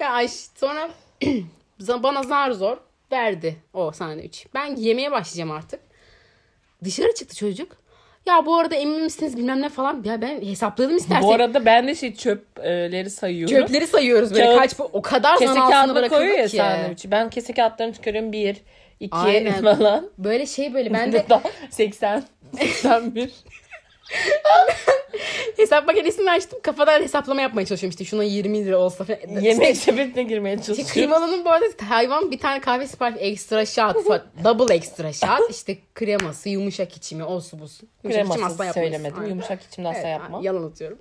Ve ay, sonra bana zar zor verdi o sandviç. Ben yemeye başlayacağım artık. Dışarı çıktı çocuk. Ya bu arada emin misiniz bilmem ne falan. Ya ben hesapladım istersen. Bu arada ben de şey çöpleri sayıyorum. Çöpleri sayıyoruz böyle Kağıt- kaç bu o kadar kese zan altına kağıdına koyuyor ya bırakıldı ki. sandviçi. Ben kese kağıtlarını çıkarıyorum. Bir, iki Aynen. falan. Böyle şey böyle ben de Ben de 80, 81. hesap makinesini açtım kafadan hesaplama yapmaya çalışıyorum işte şuna 20 lira olsa falan. Yemek sepetine girmeye Şey, çalışıyorum. Kıymalının bu arada hayvan bir tane kahve sipariş ekstra şat, double ekstra şat, işte kreması, yumuşak içimi, o su bu su. Yumuşak içim asla Kremasız yapmayız. söylemedim. Aynen. Yumuşak içimde asla Evet, yapma. Yalan atıyorum.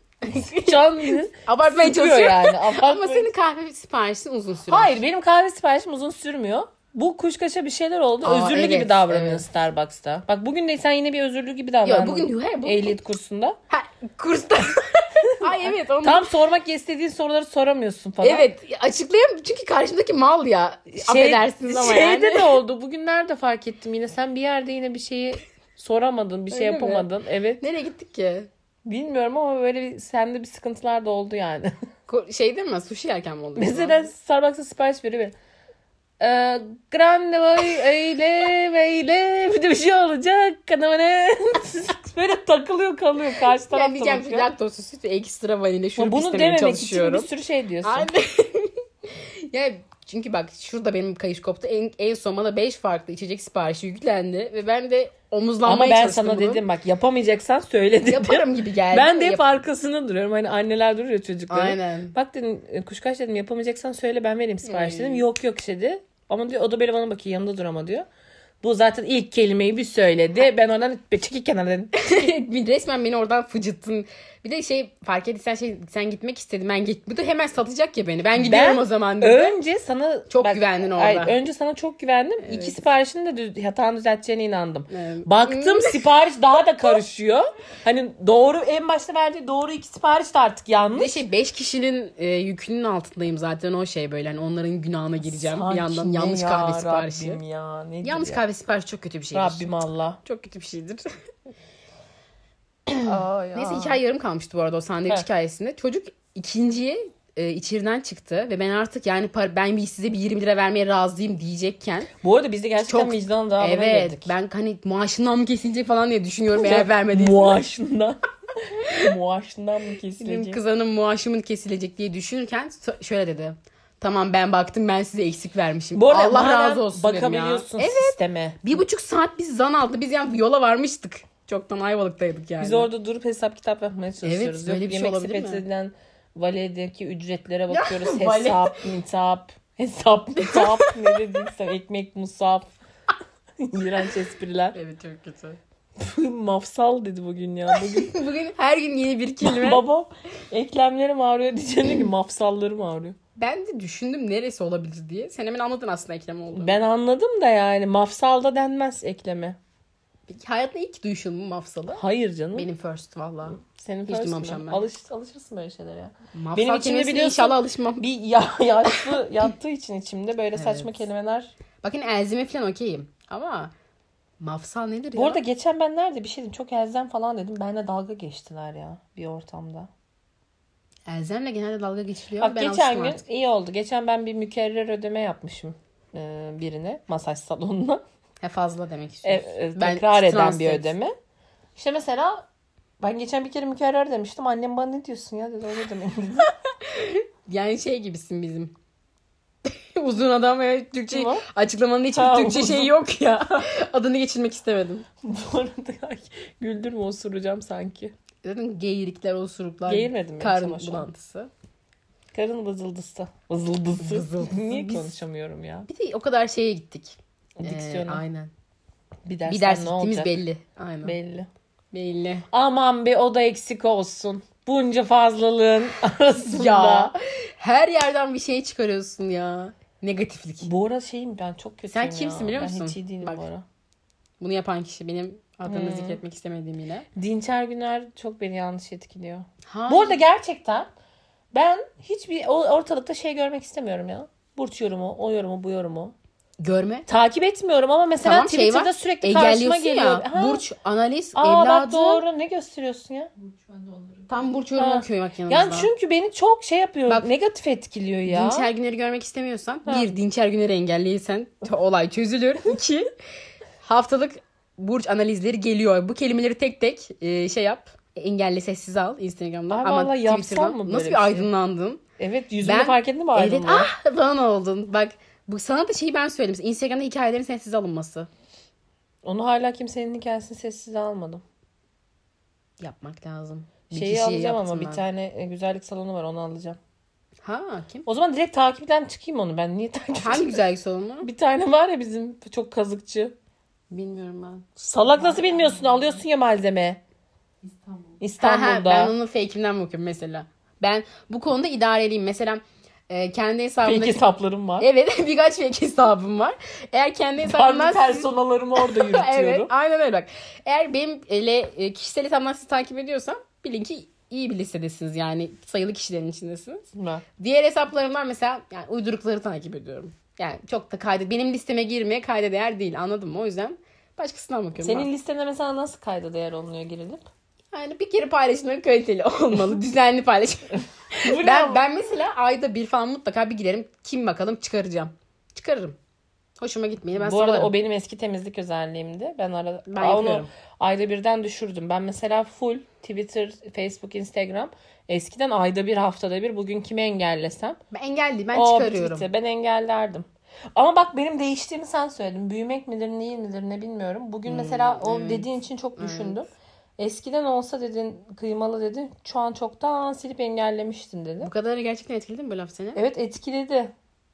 Can bizi Abartmaya sıkıyor çalışıyorum. yani. Ama Abartmıyor. senin kahve siparişin uzun sürüyor. Hayır benim kahve siparişim uzun sürmüyor. Bu kuşkaşa bir şeyler oldu. Aa, özürlü evet, gibi davranıyor evet. Starbucks'ta. Bak bugün de sen yine bir özürlü gibi davrandın. Yok bugün he, bu, Ehliyet kursunda. ha, kursta. Ay evet onu Tam sormak istediğin soruları soramıyorsun falan. Evet açıklayayım çünkü karşımdaki mal ya. Affedersiniz ama Şey, şeyde yani. de oldu. Bugünlerde fark ettim yine. Sen bir yerde yine bir şeyi soramadın, bir şey Öyle mi? yapamadın. Evet. Nereye gittik ki? Bilmiyorum ama böyle bir- sende bir sıkıntılar da oldu yani. Ko- Şey değil mi? Sushi yerken mi oldu? Mesela Starbucks'a sipariş veriyor. biri. Ee, grande boy öyle böyle bir de bir şey olacak. Kanama ne? böyle takılıyor kalıyor karşı tarafta. yani diyeceğim ki bakıyor. laktozsuz süt ve ekstra vanilya şurup bunu istemeye dememek için bir çalışıyorum. sürü şey diyorsun. Aynen. ya çünkü bak şurada benim kayış koptu. En, en son bana 5 farklı içecek siparişi yüklendi. Ve ben de omuzlanmaya Ama ben çalıştım sana bunu. dedim bak yapamayacaksan söyle dedim. Yaparım gibi geldi. Ben de hep Yap- arkasını duruyorum. Hani anneler duruyor çocukların. Aynen. Bak dedim e, kuşkaş dedim yapamayacaksan söyle ben vereyim sipariş Hmm. dedim. Yok yok dedi. Ama diyor o da böyle bana bakıyor yanında dur ama diyor. Bu zaten ilk kelimeyi bir söyledi. Ben oradan "Be, çekil kenara dedim. Bir Resmen beni oradan fıcıttın. Bir de şey fark ettiysen şey sen gitmek istedin. Ben git. Bu da hemen satacak ya beni. Ben gidiyorum o zaman dedi. Önce sana Çok güvendin orada. önce sana çok güvendim. İki siparişini de düz, hatanı düzelteceğine inandım. Evet. Hmm. Baktım sipariş daha da karışıyor. Hani doğru en başta verdiği doğru iki sipariş de artık Bir de yanlış. şey 5 kişinin e, yükünün altındayım zaten o şey böyle hani onların günahına gireceğim Sanki bir yandan ne yanlış ya kahve siparişi. Rabbim ya, nedir Yanlış ya? kahve siparişi çok kötü bir şeydir. Rabbim Allah. Çok kötü bir şeydir. Ay, Neyse ay. hikaye yarım kalmıştı bu arada o sandviç Heh. hikayesinde. Çocuk ikinciye e, içeriden çıktı ve ben artık yani par- ben bir size bir 20 lira vermeye razıyım diyecekken Bu arada biz de gerçekten Çok- vicdan daha evet girdik. ben hani maaşından mı kesilecek falan diye düşünüyorum eğer vermediyse. Muaşından. Muaşından mı Benim kesilecek? kızanın maaşımın kesilecek diye düşünürken so- şöyle dedi. Tamam ben baktım ben size eksik vermişim. Bu arada Allah hala razı olsun dedim ya. bakabiliyorsun sisteme. Bir buçuk saat biz zan aldı. Biz yani yola varmıştık. Çoktan Ayvalık'taydık yani. Biz orada durup hesap kitap yapmaya çalışıyoruz. Yok, Evet, böyle bir şey yemek olabilir mi? sepetinden valedeki ücretlere bakıyoruz. vale. hesap, mitap. Hesap, mitap. ne dediysen ekmek, musaf. İğrenç espriler. Evet çok kötü. Mafsal dedi bugün ya. Bugün Bugün her gün yeni bir kelime. babam eklemlerim ağrıyor diyeceğine ki mafsallarım ağrıyor. ben de düşündüm neresi olabilir diye. Sen hemen anladın aslında eklem oldu. Ben anladım da yani mafsalda denmez ekleme. Peki hayatında ilk duyuşun mu mafsalı? Hayır canım. Benim first valla. Senin Hiç first duymamışım mı? ben. Alış, alışırsın böyle şeylere ya. Mafsal Benim Benim içimde içimde biliyorsun- inşallah alışmam. Bir ya, yaşlı yattığı için içimde böyle saçma Evet. kelimeler. Bakın elzime falan okeyim. Ama mafsal nedir ya? Bu arada geçen ben nerede bir şey dedim. Çok elzem falan dedim. Benle dalga geçtiler ya bir ortamda. Elzemle genelde dalga geçiliyor. Bak ben geçen alıştım gün artık. iyi oldu. Geçen ben bir mükerrer ödeme yapmışım e, birine masaj salonuna. He, fazla demek E, istiyorsun. e, Ben tekrar eden transit. bir ödeme. İşte mesela ben geçen bir kere mükerrer demiştim. Annem bana ne diyorsun ya dedi öyle demeyin dedi. Yani şey gibisin bizim. uzun adam ve Türkçe Kim o? açıklamanın hiçbir Ha, Türkçe uzun. şeyi yok ya. Adını geçirmek istemedim. Bu arada ay, güldürme osuracağım sanki. Zaten geyirikler, osuruklar, Geğirmedim ben karın sana şu an. bulantısı. Karın vızıldısı. Vızıldısı. Vızıldısı. Niye Biz- konuşamıyorum ya? Bir de o kadar şeye gittik. Ee, Diksiyona. aynen. bir ders, bir ders ne gittiğimiz olacak? belli. Aynen. Belli. Belli. Aman bir o da eksik olsun. Bunca fazlalığın arasında. Ya her yerden bir şey çıkarıyorsun ya. Negatiflik. Bu ara şeyim ben çok kötüyüm Sen ya. kimsin biliyor Ben musun? hiç iyi değilim Bak. bu ara. Bunu yapan kişi benim adını Hmm. zikretmek istemediğim yine. Dinçer Güner çok beni yanlış etkiliyor. Ha. Bu arada gerçekten ben hiçbir o- ortalıkta şey görmek istemiyorum ya. Burç yorumu, o yorumu, bu yorumu. görme. Takip etmiyorum ama mesela Tamam, şey Twitter'da var. sürekli karşıma Engelliyorsun geliyor. ya. Ha. Burç, analiz, Aa bak evladı. doğru ne gösteriyorsun ya? Tam Burç yorumu Ha. okuyor bak yanımızda. Yani çünkü beni çok şey yapıyor. Bak, negatif etkiliyor ya. Dinçer Güner'i görmek istemiyorsan Ha. bir Dinçer Güner'i engelleyirsen t- olay çözülür. İki haftalık burç analizleri geliyor. Bu kelimeleri tek tek e, şey yap. Engelli sessiz al Instagram'da. Ay Ama vallahi yapsam Twitter'dan. mı böyle Nasıl bir şey? bir aydınlandın? Evet yüzümde Ben- fark ettin mi Evet ayrılmayı? ah falan oldun. Bak bu sana da şeyi ben söyledim. Mesela Instagram'da hikayelerin sessiz alınması Onu hala kimsenin hikayesini sessize almadım. yapmak lazım. Bir Şeyi kişiyi alacağım ama yaptım bir ben. tane e, güzellik salonu var onu alacağım. Ha kim? O zaman direkt takipten çıkayım onu ben. Niye takip Hangi güzellik salonu? Bir tane var ya bizim çok kazıkçı. Bilmiyorum ben. Salak nasıl bilmiyorsun? Alıyorsun ya malzeme. İstanbul'da. Ha, ha, ben onun fake'imden mi okuyorum mesela? Ben bu konuda idareliyim. Mesela e, kendi hesabımda... Fake hesaplarım var. Evet birkaç fake hesabım var. Eğer kendi hesabımdan... Farklı personalarımı orada evet yürütüyorum. aynen öyle bak. Eğer benim ele, e, kişisel hesabımdan sizi takip ediyorsam bilin ki iyi bir listedesiniz yani sayılı kişilerin içindesiniz. Ben. Diğer hesaplarımdan mesela yani uydurukları takip ediyorum. Yani çok da kayda benim listeme girmeye kayda değer değil anladın mı? O yüzden başkasından bakıyorum. ben. Senin listene mesela nasıl kayda değer olunuyor girilip? Yani bir kere paylaşımların kaliteli olmalı. Düzenli paylaşım. ben, ben mesela ayda bir falan mutlaka bir girerim. Kim bakalım çıkaracağım. Çıkarırım. Hoşuma gitmeyeni ben Bu arada salarım. o benim eski temizlik özelliğimdi. Ben arada Ben Aa, onu yapıyorum. ayda birden düşürdüm. Ben mesela full Twitter, Facebook, Instagram eskiden ayda bir haftada bir bugün kimi engellesem Ben engelli ben o çıkarıyorum. bitti. Ben engellerdim. Ama bak benim değiştiğimi sen söyledin. Büyümek midir değil midir ne bilmiyorum. Hmm, Bugün mesela o dediğin için çok düşündüm. Eskiden olsa dedin kıymalı dedin. Şu an çoktan silip engellemiştim dedin. Bu kadar gerçekten etkiledi mi bu laf seni? Evet etkiledi.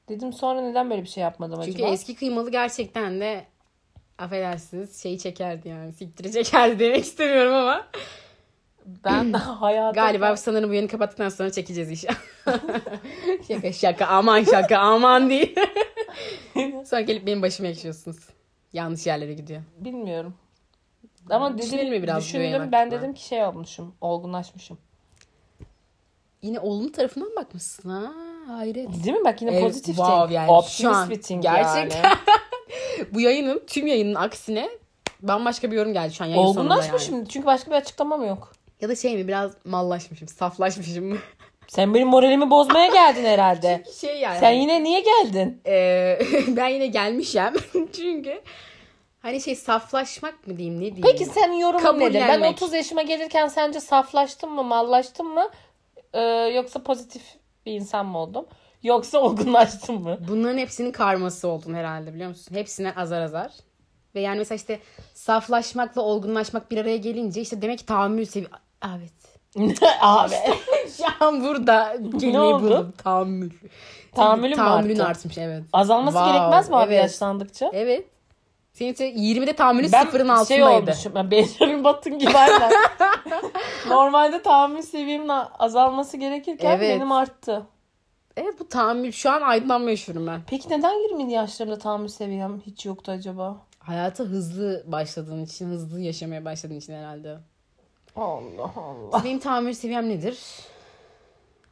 Dedim sonra neden böyle bir şey yapmadım Çünkü acaba? eski kıymalı gerçekten de affedersiniz şeyi çekerdi yani. Siktiri çekerdi demek istemiyorum ama. Ben hayata Galiba sanırım bu yayını kapattıktan sonra çekeceğiz iş. şaka şaka aman şaka aman değil. sonra gelip benim başıma ekşiyorsunuz. Yanlış yerlere gidiyor. bilmiyorum. Ama Düşünelim dedim, mi biraz bu yayın düşündüm ben hakkında? dedim ki şey olmuşum, olgunlaşmışım. Yine oğlum tarafından bakmışsın ha. Hayret. Değil mi? Bak yine Evet, pozitif wow wow, yani şu an gerçekten yani. Bu yayının tüm yayının aksine bambaşka bir yorum geldi şu an yayın sonunda yani. Olgunlaşmışım çünkü başka bir açıklamam yok. Ya da şey mi biraz mallaşmışım, saflaşmışım mı? Sen benim moralimi bozmaya geldin herhalde. şey yani. Sen yine niye geldin? Ee, ben yine gelmişim çünkü hani şey saflaşmak mı diyeyim ne diyeyim? Peki senin yorumun nedir? Ben Kabullenmek. 30 yaşıma gelirken sence saflaştım mı, mallaştım mı? Ee, yoksa pozitif bir insan mı oldum? Yoksa olgunlaştım mı? Bunların hepsinin karması oldum herhalde biliyor musun? Hepsinden azar azar. Ve yani mesela işte saflaşmakla olgunlaşmak bir araya gelince işte demek ki tahammül sevi... Evet. Abi. Şu an burada kelimeyi oldu? buldum. Tahammül. Tahammülüm Tahammülün arttı. artmış evet. Azalması Wow, gerekmez mi abi evet. yaşlandıkça? Evet. Senin işte 20'de tahammülün Ben sıfırın şey altındaydı. olmuşum. Ben Benjamin Button gibi aynen. Normalde tahammül seviyemin azalması gerekirken Evet. benim arttı. Evet bu tahammül. Şu an aydınlanma yaşıyorum ben. Peki neden 20'li yaşlarımda tahammül seviyem hiç yoktu acaba? Hayata hızlı başladığın için, hızlı yaşamaya başladığın için herhalde. Allah Allah. Benim tahammül seviyem nedir?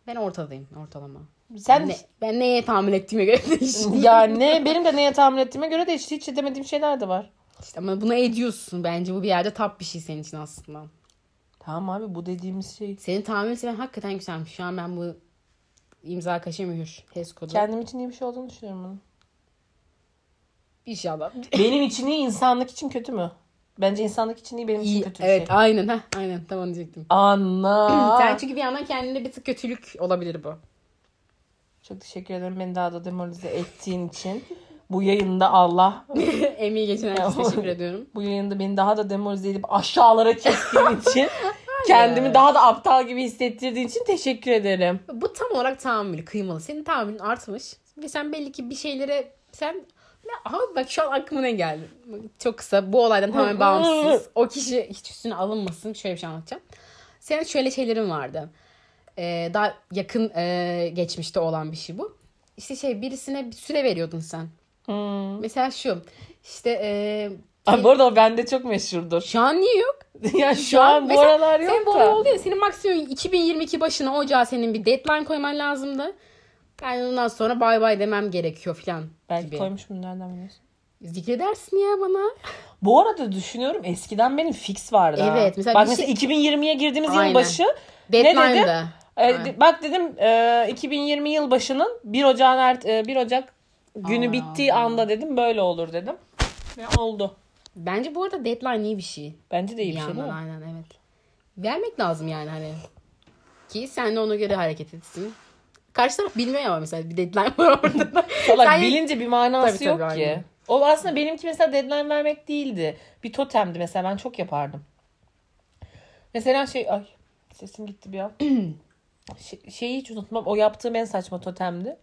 Ben ortadayım ortalama. Sen Ne- ben neye tahammül ettiğime göre değişiyor. ya ne benim de neye tahammül ettiğime göre de hiç, hiç edemediğim şeyler de var. İşte ama buna ediyorsun. Bence bu bir yerde tap bir şey senin için aslında. Tamam abi bu dediğimiz şey. Senin tahammül seviyen hakikaten güzelmiş. Şu an ben bu imza kaşe mühür. HES kodu. Kendim için iyi bir şey olduğunu düşünüyorum bunun. İnşallah. Benim için iyi insanlık için kötü mü? Bence insanlık için iyi benim için İyi, kötü bir evet şey. aynen. Heh, aynen tamam diyecektim. Anla. Sen çünkü bir yandan kendine bir tık kötülük olabilir bu. Çok teşekkür ederim beni daha da demoralize ettiğin için. Bu yayında Allah, Emeği geçen herkese Tamam. teşekkür ediyorum. bu yayında beni daha da demoralize edip aşağılara çektiğin için, kendimi daha da aptal gibi hissettirdiğin için teşekkür ederim. Bu tam olarak tahammül kıymalı. Senin tahammülün artmış. Ve sen belli ki bir şeylere sen Abi bak şu an aklıma ne geldi? Çok kısa. Bu olaydan tamamen bağımsız. O kişi hiç üstüne alınmasın. Şöyle bir şey anlatacağım. Senin şöyle şeylerin vardı. Ee, daha yakın e, geçmişte olan bir şey bu. İşte şey birisine bir süre veriyordun sen. Mesela şu. İşte e, Hmm. Ay, bu arada o bende çok meşhurdur. şu an niye yok? ya şu an bu Mesela aralar Senin yok bu da. oldu ya. Senin maksimum 2022 başına ocağa senin bir deadline koyman lazımdı. Yani ondan sonra bay bay demem gerekiyor falan Belki gibi. koymuşum nereden biliyorsun? Zikredersin ya bana. Bu arada düşünüyorum eskiden benim fix vardı. ha. Evet, mesela Bak bir şey- mesela 2020'ye girdiğimiz Aynen. yıl başı Ne dedim? Deadline'da. e, Aynen. de- bak dedim e, 2020 yıl başının 1 Ocağın ert, e, 1 Ocak günü Aa. bittiği anda dedim böyle olur dedim. Ve oldu. Bence bu arada deadline iyi bir şey. Bence de iyi bir şey yandan, değil mi? Aynen evet. Vermek lazım yani hani. Ki sen de ona göre hareket etsin. Karşı taraf bilmiyor ama mesela bir deadline var orada. da. Salak Sen- bilince bir manası Tabii, tabii, yok ki. aynen. O aslında benimki mesela deadline vermek değildi. Bir totemdi mesela ben çok yapardım. Mesela şey ay sesim gitti bir an. Şey- şeyi hiç unutmam. O yaptığım en saçma totemdi.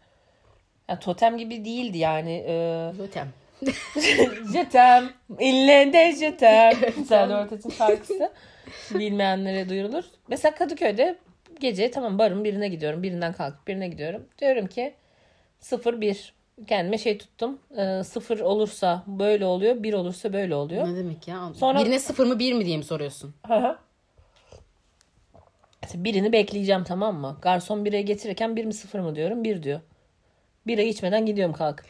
Ya totem gibi değildi yani. Ee, Totem. Jetem. İlle de jetem. Serdar Ortaç'ın şarkısı. Bilmeyenlere duyurulur. Mesela Kadıköy'de gece tamam barın birine gidiyorum. Birinden kalkıp birine gidiyorum. Diyorum ki 0-1. Kendime şey tuttum. 0 olursa böyle oluyor. 1 olursa böyle oluyor. Ne demek ya? Sonra- Birine sıfır mı bir mi diye mi soruyorsun? Hı hı. Mesela Birini bekleyeceğim tamam mı? Garson birayı getirirken bir mi sıfır mı diyorum. Bir diyor. Birayı içmeden gidiyorum kalkıp.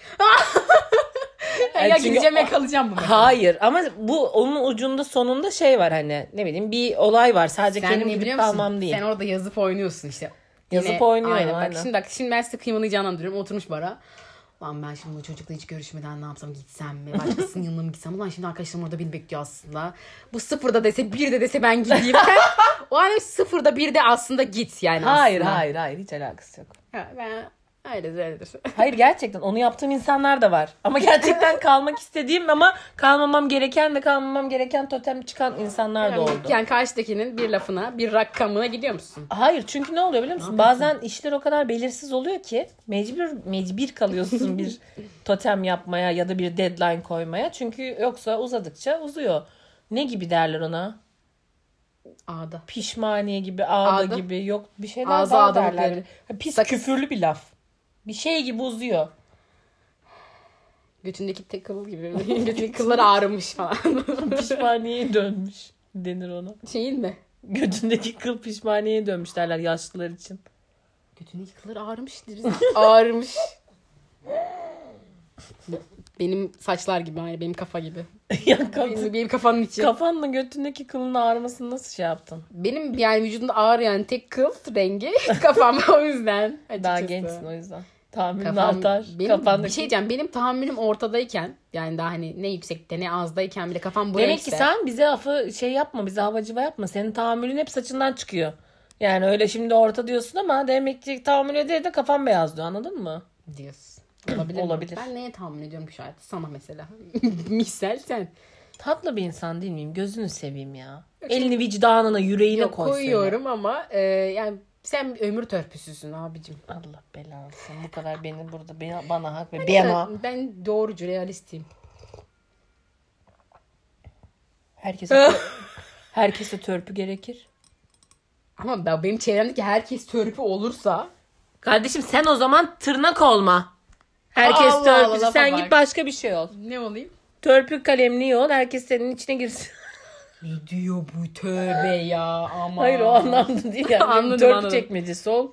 Ya, çünkü- gideceğim ya kalacağım bu. Hayır ama bu onun ucunda sonunda şey var hani ne bileyim bir olay var sadece Sen kendim ne gidip biliyor musun? kalmam değil. Sen orada yazıp oynuyorsun işte. Yazıp oynuyorum, aynen. Bak aynen. şimdi bak şimdi ben size kıymalayacağını anlıyorum. Oturmuş bara. Lan ben şimdi bu çocukla hiç görüşmeden ne yapsam gitsem mi? Başkasının yanına mı gitsem? Ulan şimdi arkadaşlarım orada beni bekliyor aslında. Bu sıfırda dese bir de dese ben gideyim. o an sıfırda bir de aslında git yani Hayır aslında. hayır hayır hiç alakası yok. Ha, ben öyle öyledir. Hayır gerçekten onu yaptığım insanlar da var. Ama gerçekten kalmak istediğim ama kalmamam gereken de kalmamam gereken totem çıkan insanlar da oldu. yani karşıdakinin bir lafına bir rakamına gidiyor musun? Hayır çünkü ne oluyor biliyor musun? Bazen işler o kadar belirsiz oluyor ki mecbur mecbur kalıyorsun bir totem yapmaya ya da bir deadline koymaya. Çünkü yoksa uzadıkça uzuyor. Ne gibi derler ona? Ağda. pişmaniye gibi, ağda, Ağda. gibi yok bir şeyler Ağza daha ağda derler. bakıyorum. Ha, Pis küfürlü bir laf. Bir şey gibi uzuyor. Götündeki tek kıl gibi. Götündeki kıllar ağrımış falan. Pişmaniyeye dönmüş denir ona. Şeyin mi? Götündeki kıl pişmaniyeye dönmüş derler yaşlılar için. Götündeki kıllar ağrımış. ağrımış. Benim saçlar gibi aynı benim kafa gibi. ya kaf- Benim, benim kafanın içi. kafanla götündeki kılın ağrımasını nasıl şey yaptın? benim yani vücudumda ağrıyan tek kıl rengi kafam o yüzden. Açıkçası. Daha gençsin o yüzden. Tahminin Kafam, artar. benim, Kafandaki... bir şey diyeceğim benim tahammülüm ortadayken yani daha hani ne yüksekte ne azdayken bile kafam buraya Demek ki sen bize afı şey yapma, bize havacıva yapma. Senin tahammülün hep saçından çıkıyor. Yani öyle şimdi orta diyorsun ama demek ki tahammül ede de kafan beyazlıyor anladın mı? diyorsun. Olabilir. mi? Olabilir. Ben neye tahammül ediyorum ki şu hayatta? Sana mesela. Misal sen. Tatlı bir insan değil miyim? Gözünü seveyim ya. Elini vicdanına, yüreğine Yok, koy. söyle. koyuyorum ama e, yani sen bir ömür törpüsüsün abicim. Allah belanı versin. Bu kadar beni burada beni- bana hak Hani ve bana. Ben, ben doğrucu realistiyim. Herkese herkese törpü gerekir. Ama ben, benim çevremdeki herkes törpü olursa Kardeşim sen o zaman tırnak olma. Herkes Allah törpü. Allah, lafa sen bak. git başka bir şey ol. ne olayım? Törpü kalemliği ol. Herkes senin içine girsin. Ne diyor bu tövbe ya ama. Hayır o anlamda değil. Yani. Anladım, törpü anladım. çekmecesi ol.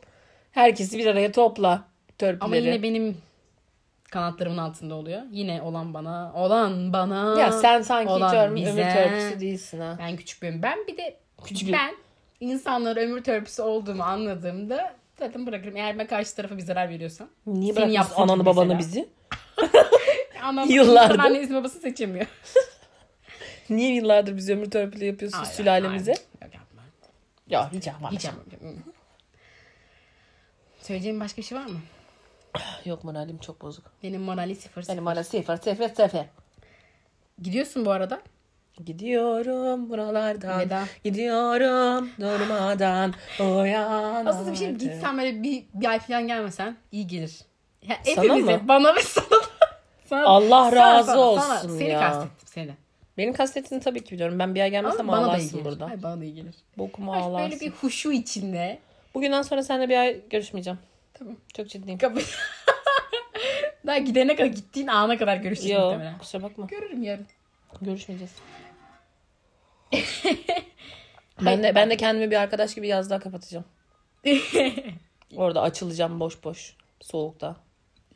Herkesi bir araya topla. Törpüleri. Ama yine benim kanatlarımın altında oluyor. Yine olan bana, olan bana. Ya sen sanki hiç olan ömür, bize. ömür törpüsü değilsin ha. Ben küçük bir Ben bir de Küçük bir- ben insanlara ömür törpüsü olduğumu anladığımda zaten bırakırım. Eğer ben karşı tarafa bir zarar veriyorsam. Niye Senin bırakmışsın yaptığın gibi ananı babanı mesela. bizi? Anam Yıllardır. insan annesini babası seçemiyor. Niye yıllardır bizi ömür törpülü yapıyorsun Hayır, sülalemize? hayır. Yok yapma. Ya hiç yapma. Hiç yapmam. Söyleyeceğim başka bir şey var mı? Ah, Yok moralim çok bozuk. Benim morali sıfır. Benim hala sefer sefer sefer. Gidiyorsun bu arada. Gidiyorum buralardan. Veda. Gidiyorum durmadan. Uyan. Aslında bir şey artık. gitsen böyle bir, bir ay falan gelmesen iyi gelir. Ya Sana hepimize, mı? bana ve sana da. Sana- Allah sana- razı sana- olsun sana- Seni ya. kastettim seni. Benim kastettiğini tabii ki biliyorum. Ben bir ay gelmesem Ama bana da iyi ağlarsın gelir. burada. Hayır, bana da iyi gelir. Bokumu Ay, ağlarsın. Böyle bir huşu içinde. Bugünden sonra seninle bir ay görüşmeyeceğim. Tamam. Çok ciddiyim. Kapı- Daha gidene kadar gittiğin ana kadar görüşeceğiz Yo muhtemelen. kusura bakma. Görürüm yarın. Görüşmeyeceğiz. ben de ben de kendimi bir arkadaş gibi yazlığa kapatacağım. Orada açılacağım boş boş soğukta.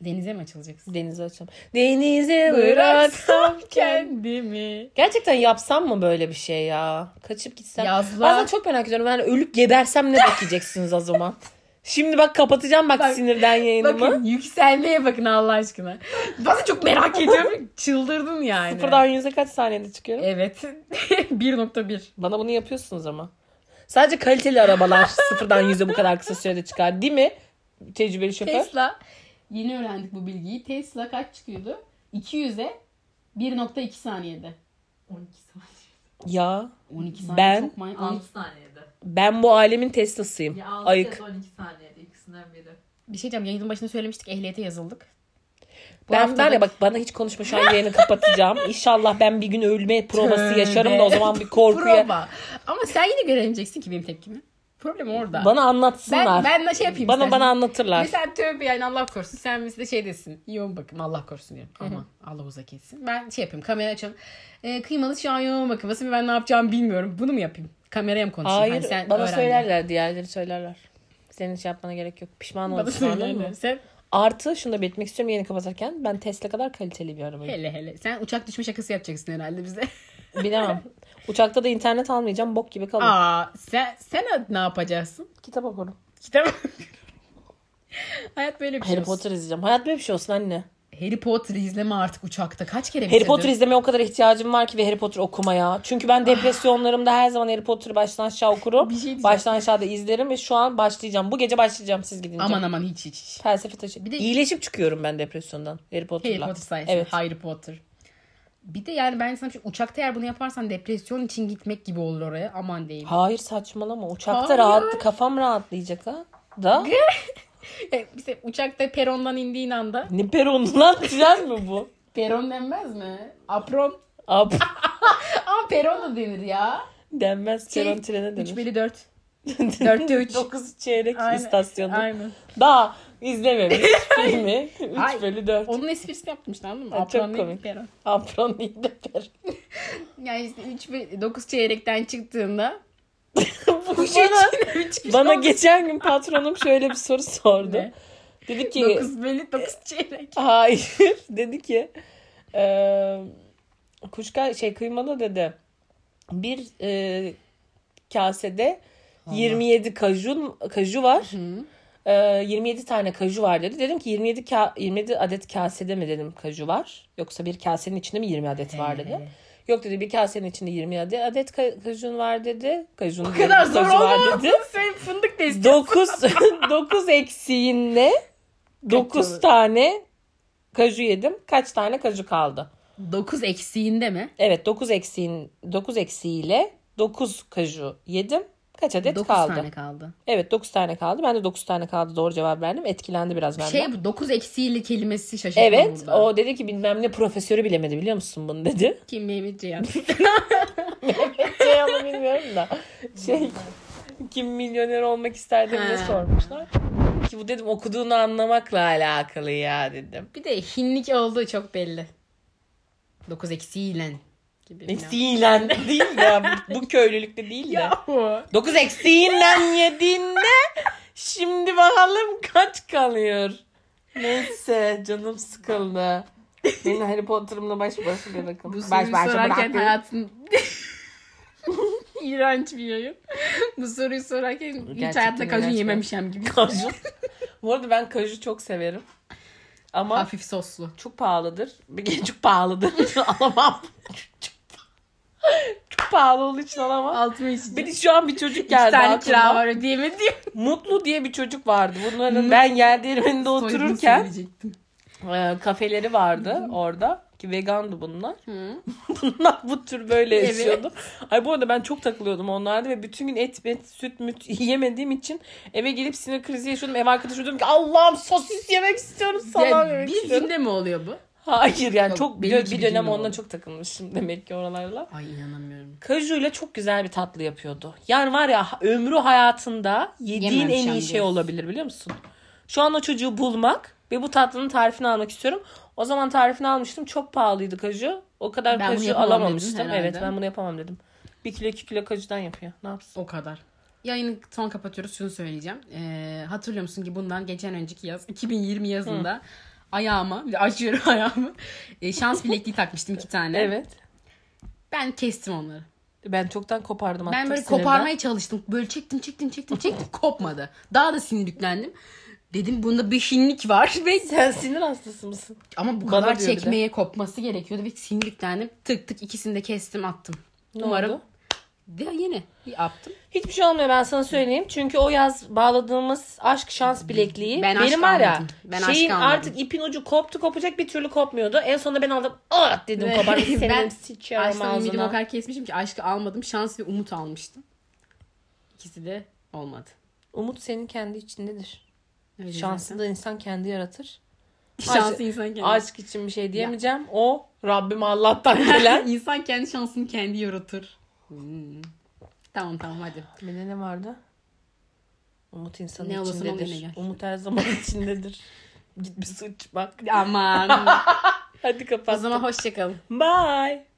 Denize mi açılacaksın? Denize açacağım. Denize bıraksam kendimi. Kendimi. Gerçekten yapsam mı böyle bir şey ya? Kaçıp gitsem. Yazla. Bazen çok merak ediyorum. Yani ölüp gebersem ne bekleyeceksiniz o zaman? Şimdi bak kapatacağım bak, Bak- sinirden yayınımı. Bakın yükselmeye bakın Allah aşkına. Bazen çok merak ediyorum. Çıldırdın yani. Sıfırdan yüze kaç saniyede çıkıyorum? Evet. 1.1. Bana bunu yapıyorsunuz ama. Sadece kaliteli arabalar sıfırdan yüze bu kadar kısa sürede çıkar değil mi? Tecrübeli şoför. Tesla. Yeni öğrendik bu bilgiyi. Tesla kaç çıkıyordu? 200'e 1.2 saniyede. 12 saniye. Ya 12 saniye Ben- çok manyak. 6 saniyede. ben bu alemin Tesla'sıyım. Ya 6 Ayık. 12 saniyede ikisinden biri. Bir şey diyeceğim. Yayının başında söylemiştik. Ehliyete yazıldık. Bu ben haftada- var ya bak bana hiç konuşma şu an yayını kapatacağım. İnşallah ben bir gün ölme provası Tövbe. yaşarım da o zaman bir korkuya. Prova. Ama sen yine göremeyeceksin ki benim tepkimi. Problem orada. bana anlatsınlar. ben, ben de şey yapayım. bana istersen. bana anlatırlar. Mesela tövbe yani Allah korusun. Sen bize de şey desin. Yoğun bakım Allah korusun diyorum. Ama Allah uzak etsin. Ben şey yapayım. Kamera açalım. Ee, kıymalı şu an yoğun bakımdasın ve ben ne yapacağımı bilmiyorum. Bunu mu yapayım? Kameraya mı konuşayım? Hayır Hani sen bana öğren diye. söylerler diğerleri söylerler. Senin şey yapmana gerek yok. Pişman Bana olursun anladın mı? söylerler. Sen Artı şunu da belirtmek istiyorum yayını kapatarken. Ben Tesla kadar kaliteli bir arabayım. hele hele. Sen uçak düşme şakası yapacaksın herhalde bize. Bilemem. Uçakta da internet almayacağım. Bok gibi kalırım. Aa sen, sen ne yapacaksın? Kitap okurum. Kitap Hayat böyle bir şey Harry olsun. Potter izleyeceğim. Hayat böyle bir şey olsun anne. Harry Potter izleme artık uçakta. Kaç kere Harry Potter izlemeye o kadar ihtiyacım var ki ve Harry Potter okumaya. Çünkü ben depresyonlarımda her zaman Harry Potter'ı baştan aşağı okurum. Bir şey diyeceğim. baştan aşağı da izlerim ve şu an başlayacağım. Bu gece başlayacağım siz gidince. Aman aman hiç hiç. hiç. Felsefe taşı. Bir de- İyileşip çıkıyorum ben depresyondan Harry Potter'la. Harry Potter sayesinde. Evet. Harry Potter. Bir de yani ben sana bir şey- uçakta eğer bunu yaparsan depresyon için gitmek gibi olur oraya. Aman değil. Hayır saçmalama. Uçakta Hayır. rahat, kafam rahatlayacak ha. Da. E, işte uçakta perondan indiğin anda. ne peronu lan? Tren mi bu? Peron denmez mi? Apron. Ab Ama peron da denir ya. denmez. Şey, Peron trene denir. 3 bölü 4. dörtte üç. 9 çeyrek Aynen. istasyonu. Aynen. Daha izlememiş filmi. 3 Ay. bölü 4. Onun esprisini yapmıştı anladın mı? Ay, çok Apron değil komik. peron. Apron iyi de per. Yani işte 3 bölü 9 çeyrekten çıktığında Bu şey bana, çıkmış bana geçen gün patronum şöyle bir soru sordu. Ne? Dedi ki 9 bölü 9 çeyrek. hayır. Dedi ki e, kuşka şey kıymalı dedi. Bir e, kasede 27 kajun kaju var. E, 27 tane kaju var dedi. Dedim ki 27 ka- 27 adet kasede mi dedim kaju var? Yoksa bir kasenin içinde mi 20 adet var dedi. Yok dedi bir kasenin içinde 20 adet, adet ka- kajun var dedi. Kajun Bu kadar zor diyorum, kaju var olmaz. dedi. Sen fındık da istiyorsun. 9 9 eksiğinle 9 tane kaju yedim. Kaç tane kaju kaldı? 9 eksiğinde mi? Evet 9 eksiğin 9 eksiğiyle 9 kaju yedim. Kaç adet 9 kaldı? tane kaldı. Evet 9 tane kaldı. Ben de 9 tane kaldı. Doğru cevap verdim. Etkilendi biraz benden. Şey bu şey 9 eksiğiyle kelimesi şaşırtma evet burada. o dedi ki bilmem ne profesörü bilemedi biliyor musun bunu dedi. Kim Mehmet Ceyhan. şey ama bilmiyorum da. Şey kim milyoner olmak ister diye Ha. sormuşlar. Ki bu dedim okuduğunu anlamakla alakalı ya dedim. bir de hinlik olduğu çok belli. 9 eksiğiyle. Gibi Eksiğiyle değil ya. Bu, bu köylülükte değil de. Yahu. 9 eksiğinden yediğinde şimdi bakalım kaç kalıyor. Neyse canım sıkıldı. Beni Harry Potter'ımla baş başa bırakın. Bu soruyu baş sorarken bırakın. hayatın... İğrenç bir yayın. bu soruyu sorarken hiç Gerçekten hayatta kajun iğrenç bir- yememişim gibi. Kaju. Bu arada ben kaju çok severim. Ama Hafif soslu. çok pahalıdır. Bir kere çok pahalıdır. alamam. çok, çok pahalı olduğu için alamam. Altıma içeceğim. Bir de şu an bir çocuk İki geldi tane aklıma. kira var ödeyemedi. Mutlu diye bir çocuk vardı. Bunların ben geldi evinde otururken e, kafeleri vardı orada ki vegandı bunlar. bunlar bu tür böyle Evet. yaşıyordu. Ay bu arada ben çok takılıyordum onlarda ve bütün gün et, et süt müt yemediğim için eve gelip sinir krizi yaşıyordum. Ev arkadaşı diyordum ki Allah'ım sosis yemek istiyorum salam Ya yemek bir istiyorum. günde mi oluyor bu? Hayır yani Yok, çok benim bir, gibi bir dönem değil o. onunla çok takılmışım demek ki oralarla. Ay inanamıyorum. Kajuyla çok güzel bir tatlı yapıyordu. Yani var ya ömrü hayatında yediğin Yemem en iyi şimdi. şey olabilir biliyor musun? Şu an o çocuğu bulmak ve bu tatlının tarifini almak istiyorum. O zaman tarifini almıştım. Çok pahalıydı kaju. O kadar Ben bunu kaju yapamam dedin alamamıştım. herhalde. Evet ben bunu yapamam dedim. Bir kilo iki kilo kajudan yapıyor. Ne yapsın? O kadar. Yayını son kapatıyoruz. Şunu söyleyeceğim. Ee, hatırlıyor musun ki bundan geçen önceki yaz 2020 yazında ayağıma bir de açıyorum ayağımı. e, şans bilekliği takmıştım iki tane. Evet. Ben kestim onları. Ben çoktan kopardım Ben attım böyle sinirden. koparmaya çalıştım. Böyle çektim çektim çektim çektim kopmadı. Daha da sinirlendim. Dedim bunda bir hinlik var ve Sen sinir hastası mısın? ama bu Bana kadar diyor bir de. çekmeye kopması gerekiyordu ve sinirlendim. Tık tık ikisini de kestim attım. Ne Umarım oldu? de yine yaptım. Hiçbir şey olmuyor ben sana söyleyeyim. Çünkü o yaz bağladığımız aşk şans bilekliği Ben aşk benim var ya anladım. Ben aşk şeyin anladım. artık ipin ucu koptu kopacak bir türlü kopmuyordu. En sonunda ben aldım. Ah dedim Ve kopar ben senin sıçıyorum Aşktan ümidimi o ağzına. kadar kesmişim ki aşkı almadım. Şans ve umut almıştım. İkisi de olmadı. Umut senin kendi içindedir. Öyle Şansı zaten. da insan kendi yaratır. Şansı insan kendi. Aşk için bir şey diyemeyeceğim. O Rabbim Allah'tan gelen. insan kendi şansını kendi yaratır. Hmm. Tamam tamam hadi. Bir de ne vardı? Umut insanın Ne olursan ol yine içindedir. gel. Umut her zaman içindedir. Git bir sıç bak. Aman. Hadi o kapat. zaman hoşçakalın. Bye.